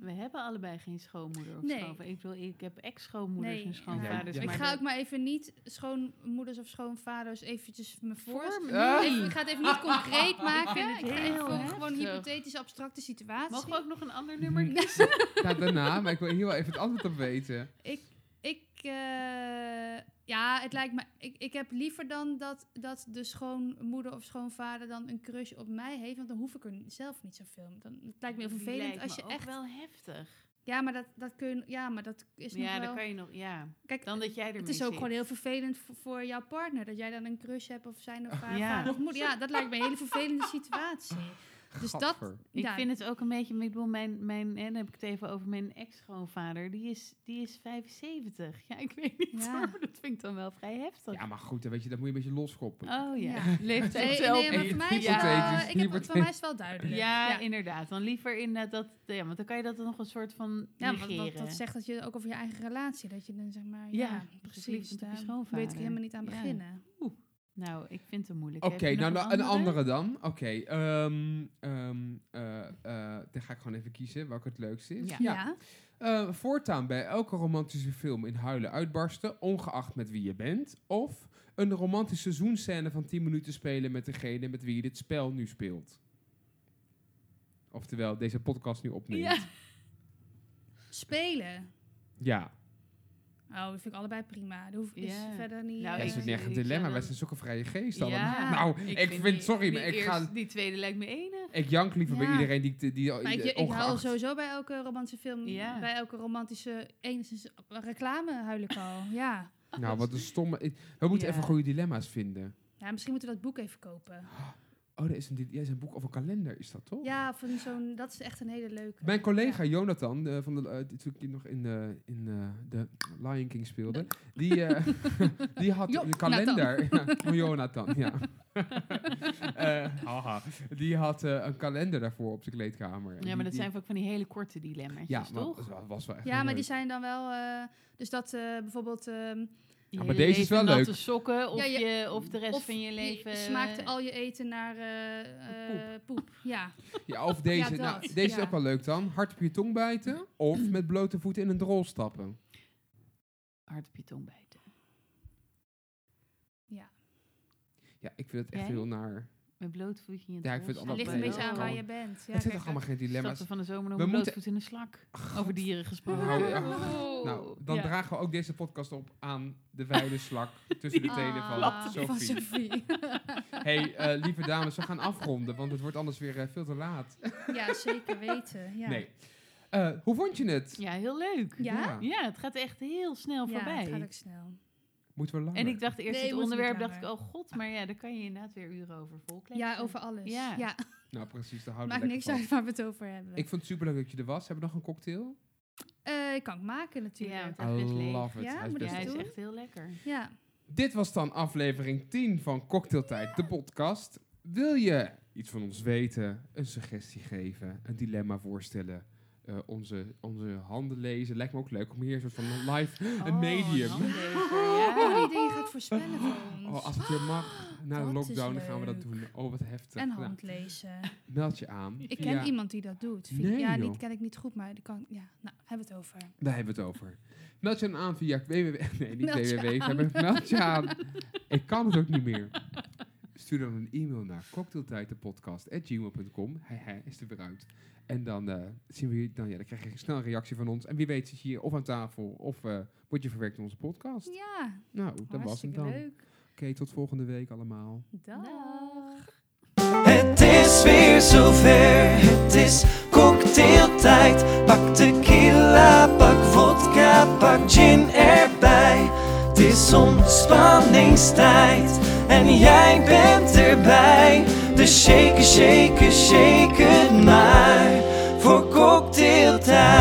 Speaker 4: we hebben allebei geen schoonmoeder of
Speaker 2: Nee.
Speaker 4: schoonvader. Ik, bedoel, ik heb ex-schoonmoeders
Speaker 2: Nee,
Speaker 4: en schoonvaders.
Speaker 3: Ja.
Speaker 2: ik
Speaker 4: maar
Speaker 2: ga
Speaker 4: dat-
Speaker 2: ook maar even niet schoonmoeders of schoonvaders eventjes me voor.
Speaker 4: Voor
Speaker 3: Ah.
Speaker 4: nee.
Speaker 2: Even- ik ga het even niet concreet maken.
Speaker 4: vind
Speaker 2: Ik,
Speaker 4: het
Speaker 2: ga
Speaker 4: heel
Speaker 2: even
Speaker 4: heftig.
Speaker 2: gewoon hypothetische, abstracte situatie.
Speaker 4: Mogen we ook nog een ander nummer
Speaker 2: Nee.
Speaker 4: kiezen?
Speaker 3: Ja, daarna, maar ik wil hier wel even het antwoord op weten.
Speaker 2: Ik, ik eh, ja, het lijkt me. Ik, ik heb liever dan dat, dat de schoonmoeder of schoonvader dan een crush op mij heeft, want dan hoef ik er n- zelf niet zoveel. Dan het lijkt me heel
Speaker 4: Die
Speaker 2: vervelend
Speaker 4: lijkt
Speaker 2: als
Speaker 4: me
Speaker 2: je
Speaker 4: ook
Speaker 2: echt.
Speaker 4: wel heftig.
Speaker 2: Ja, maar dat, dat kun je. Ja, maar dat is nog
Speaker 4: ja,
Speaker 2: wel.
Speaker 4: dan kan je nog... Ja,
Speaker 2: Kijk,
Speaker 4: dan dat jij ermee
Speaker 2: het is ook
Speaker 4: zit.
Speaker 2: gewoon heel vervelend voor, voor jouw partner dat jij dan een crush hebt of zijn of haar
Speaker 4: Ja.
Speaker 2: vader of moeder. Ja, dat lijkt me een hele vervelende situatie. Dus dat-
Speaker 3: Gadver.
Speaker 4: Ik
Speaker 2: Ja.
Speaker 4: vind het ook een beetje, ik bedoel, mijn, mijn, en dan heb ik het even over mijn ex-schoonvader, die is, die is 75. Ja, ik weet niet
Speaker 2: Ja.
Speaker 4: hoor, maar dat vind ik dan wel vrij heftig.
Speaker 3: Ja, maar goed, dan weet je, dat moet je een beetje loskoppelen.
Speaker 4: Oh ja,
Speaker 2: Ja.
Speaker 4: leeftijd
Speaker 2: Nee,
Speaker 4: zelf.
Speaker 2: nee, maar voor mij is
Speaker 4: Ja.
Speaker 2: het, eh,
Speaker 3: Hypothetisch,
Speaker 2: ik heb, voor
Speaker 3: hypothetisch.
Speaker 2: mij is het wel duidelijk.
Speaker 4: ja,
Speaker 2: ja.
Speaker 4: inderdaad. Dan liever inderdaad dat, ja, want dan kan je dat dan nog een soort van
Speaker 2: Ja, want
Speaker 4: negeren.
Speaker 2: dat, dat zegt dat je ook over je eigen relatie, dat je dan zeg maar,
Speaker 4: Ja,
Speaker 2: ja,
Speaker 4: dus
Speaker 2: precies,
Speaker 4: liefde op je
Speaker 2: daar
Speaker 4: schoonvader.
Speaker 2: weet ik helemaal niet aan
Speaker 4: Ja.
Speaker 2: beginnen.
Speaker 4: Nou, ik vind het moeilijk.
Speaker 3: Oké,
Speaker 4: Heb je
Speaker 3: nou
Speaker 4: nog
Speaker 3: nou, een andere dan. Oké, ehm, ehm, eh, eh, de dan ga ik gewoon even kiezen welke het leukste is.
Speaker 4: Ja.
Speaker 2: Ja.
Speaker 3: Eh, voortaan bij elke romantische film in huilen uitbarsten, ongeacht met wie je bent. Of een romantische zoenscène van 10 minuten spelen met degene met wie je dit spel nu speelt. Oftewel, deze podcast nu opneemt. Ja.
Speaker 4: Ja.
Speaker 2: Spelen. Oh, dat vind ik allebei prima. Dat hoeft is
Speaker 4: Ja.
Speaker 2: verder niet...
Speaker 4: Nou,
Speaker 3: Ja,
Speaker 2: eh,
Speaker 3: is het
Speaker 4: ik-
Speaker 3: nergens een
Speaker 4: ik
Speaker 3: dilemma. Wij
Speaker 4: zou dan-
Speaker 3: zijn zulke vrije geesten
Speaker 4: Ja.
Speaker 3: allemaal. Nou, ik, vind,
Speaker 4: die-
Speaker 3: sorry,
Speaker 4: die
Speaker 3: maar ik
Speaker 4: eerst-
Speaker 3: ga...
Speaker 4: Die tweede lijkt me enig.
Speaker 3: Ik jank liever bij
Speaker 2: Ja.
Speaker 3: iedereen die... die, die
Speaker 2: Maar ik, ik huil
Speaker 3: ongeacht-
Speaker 2: sowieso bij elke romantische film,
Speaker 4: Ja.
Speaker 2: bij elke romantische enigszins reclame huil ik al. Ja.
Speaker 3: Nou, wat een stomme... ik- We moeten
Speaker 4: Ja.
Speaker 3: even goede dilemma's vinden.
Speaker 2: ja, misschien moeten we dat boek even kopen.
Speaker 3: Oh, er is een, di- ja, er is een boek of een kalender, is dat toch?
Speaker 2: Ja, van zo'n, dat is echt een hele leuke.
Speaker 3: Mijn collega Jonathan, eh, van de, eh, die toen ik nog in, eh, in eh, de Lion King speelde, die, eh, die had
Speaker 2: Jo-
Speaker 3: een kalender. Ja, van Jonathan, ja. Eh, haha. die had eh, een kalender daarvoor op zijn kleedkamer. En
Speaker 4: Ja,
Speaker 3: die-
Speaker 4: maar dat
Speaker 3: die-
Speaker 4: zijn ook van die hele korte dilemma's,
Speaker 3: Ja, maar
Speaker 4: toch?
Speaker 3: dat was, was wel echt
Speaker 2: ja, maar
Speaker 3: leuk.
Speaker 2: die zijn dan wel, eh, dus dat eh, bijvoorbeeld, ehm,
Speaker 4: Je
Speaker 3: Ja, maar
Speaker 4: hele
Speaker 3: deze is
Speaker 4: leven
Speaker 3: wel leuk.
Speaker 4: natte sokken of,
Speaker 2: Ja,
Speaker 4: Je, of de rest
Speaker 2: of
Speaker 4: van je leven... eh,
Speaker 2: je smaakt al je eten naar eh, eh, poep. Ja,
Speaker 3: Ja, of deze.
Speaker 2: Ja,
Speaker 3: nou,
Speaker 2: dat,
Speaker 3: deze
Speaker 2: ja.
Speaker 3: is ook wel leuk dan. Hard op je tong bijten of met blote voeten in een drol stappen.
Speaker 4: Hard op je tong bijten.
Speaker 3: Ja, ik vind het echt
Speaker 4: Jij?
Speaker 3: heel naar.
Speaker 4: Met bloot voetje in je
Speaker 3: Ja, ik vind
Speaker 2: het
Speaker 3: het allemaal
Speaker 2: ligt
Speaker 3: wel
Speaker 2: een
Speaker 3: leuk.
Speaker 2: beetje aan waar je bent. Ja,
Speaker 3: het zijn
Speaker 2: kijk,
Speaker 3: toch allemaal geen
Speaker 4: dilemma's.
Speaker 3: dilemma's.
Speaker 4: van de zomer nog
Speaker 3: We
Speaker 4: met
Speaker 3: moeten-
Speaker 4: blootvoet in de slak. Over dieren gesproken.
Speaker 3: Nou, ja.
Speaker 2: Oh.
Speaker 3: Nou, dan
Speaker 4: Ja.
Speaker 3: dragen we ook deze podcast op aan de wijde slak tussen de
Speaker 2: ah,
Speaker 3: tenen van Sophie.
Speaker 2: van Sophie.
Speaker 3: hey, eh, lieve dames, we gaan afronden, want het wordt anders weer eh, veel te laat.
Speaker 2: ja, zeker weten. Ja.
Speaker 3: Nee. Eh, hoe vond je het?
Speaker 4: Ja, heel leuk.
Speaker 2: Ja?
Speaker 4: Ja, het gaat echt heel snel
Speaker 2: Ja,
Speaker 4: voorbij.
Speaker 2: het gaat ook snel.
Speaker 3: Moeten we langer?
Speaker 4: En ik dacht eerst
Speaker 2: Nee,
Speaker 4: het
Speaker 2: moet niet
Speaker 4: onderwerp, dacht
Speaker 2: langer.
Speaker 4: ik, oh god, maar ja, daar kan je inderdaad weer uren over volkletsen.
Speaker 2: Ja, over alles.
Speaker 4: Ja.
Speaker 2: ja.
Speaker 3: Nou, precies, daar houden we
Speaker 2: Maakt niks
Speaker 3: lekker van.
Speaker 2: uit waar we het over hebben.
Speaker 3: Ik vond het superleuk dat je er was. Hebben we nog een cocktail?
Speaker 2: Eh, ik kan het maken
Speaker 4: Ja,
Speaker 2: natuurlijk.
Speaker 4: want hij is best
Speaker 3: I
Speaker 4: leeg.
Speaker 3: love it.
Speaker 2: Ja,
Speaker 3: Hij is
Speaker 2: moet
Speaker 4: Ja,
Speaker 2: ik
Speaker 3: best leeg.
Speaker 4: hij is
Speaker 2: doen?
Speaker 4: echt heel lekker.
Speaker 2: Ja.
Speaker 3: Dit was dan aflevering 10 van Cocktailtijd, de podcast. Wil je iets van ons weten, een suggestie geven, een dilemma voorstellen, eh, onze, onze handen lezen? Lijkt me ook leuk om hier een soort van live een medium.
Speaker 4: Oh, een handlezer,
Speaker 2: Oh,
Speaker 4: ja.
Speaker 2: die dingen gaat voorspellen voor ons.
Speaker 3: Oh, als het weer mag, na de
Speaker 2: dat is
Speaker 3: lockdown gaan we dat
Speaker 2: leuk.
Speaker 3: doen. Oh, wat heftig.
Speaker 2: en
Speaker 3: Nou,
Speaker 2: handlezen.
Speaker 3: meld je aan.
Speaker 2: Ik ken
Speaker 3: via-
Speaker 2: iemand die dat doet.
Speaker 3: Nee,
Speaker 2: ja,
Speaker 3: joh.
Speaker 2: niet ken ik niet goed, maar die kan. Ja, nou, hebben we het over.
Speaker 3: Daar hebben we het over. Meld je dan aan via www. Nee, niet
Speaker 2: Meld je
Speaker 3: www. we
Speaker 2: aan.
Speaker 3: hebben- Meld je aan. Ik kan het ook niet meer. Stuur dan een e-mail naar cocktailtijdenpodcast.gmail.com. Hij, hij is er weer uit. En dan eh, zien we je. Dan, ja, dan krijg je snel een reactie van ons. En wie weet zit je hier of aan tafel of eh, word je verwerkt in onze podcast.
Speaker 2: Ja,
Speaker 3: Nou, dat was hem
Speaker 2: hartstikke
Speaker 3: dan. Oké,
Speaker 2: leuk.
Speaker 3: tot volgende week allemaal.
Speaker 2: Dag.
Speaker 1: Het is weer zover, het is cocktailtijd. Pak tequila, pak vodka, pak gin erbij. Het is ontspanningstijd en jij bent erbij. Dus shake, shake, shake het maar voor cocktailtijd.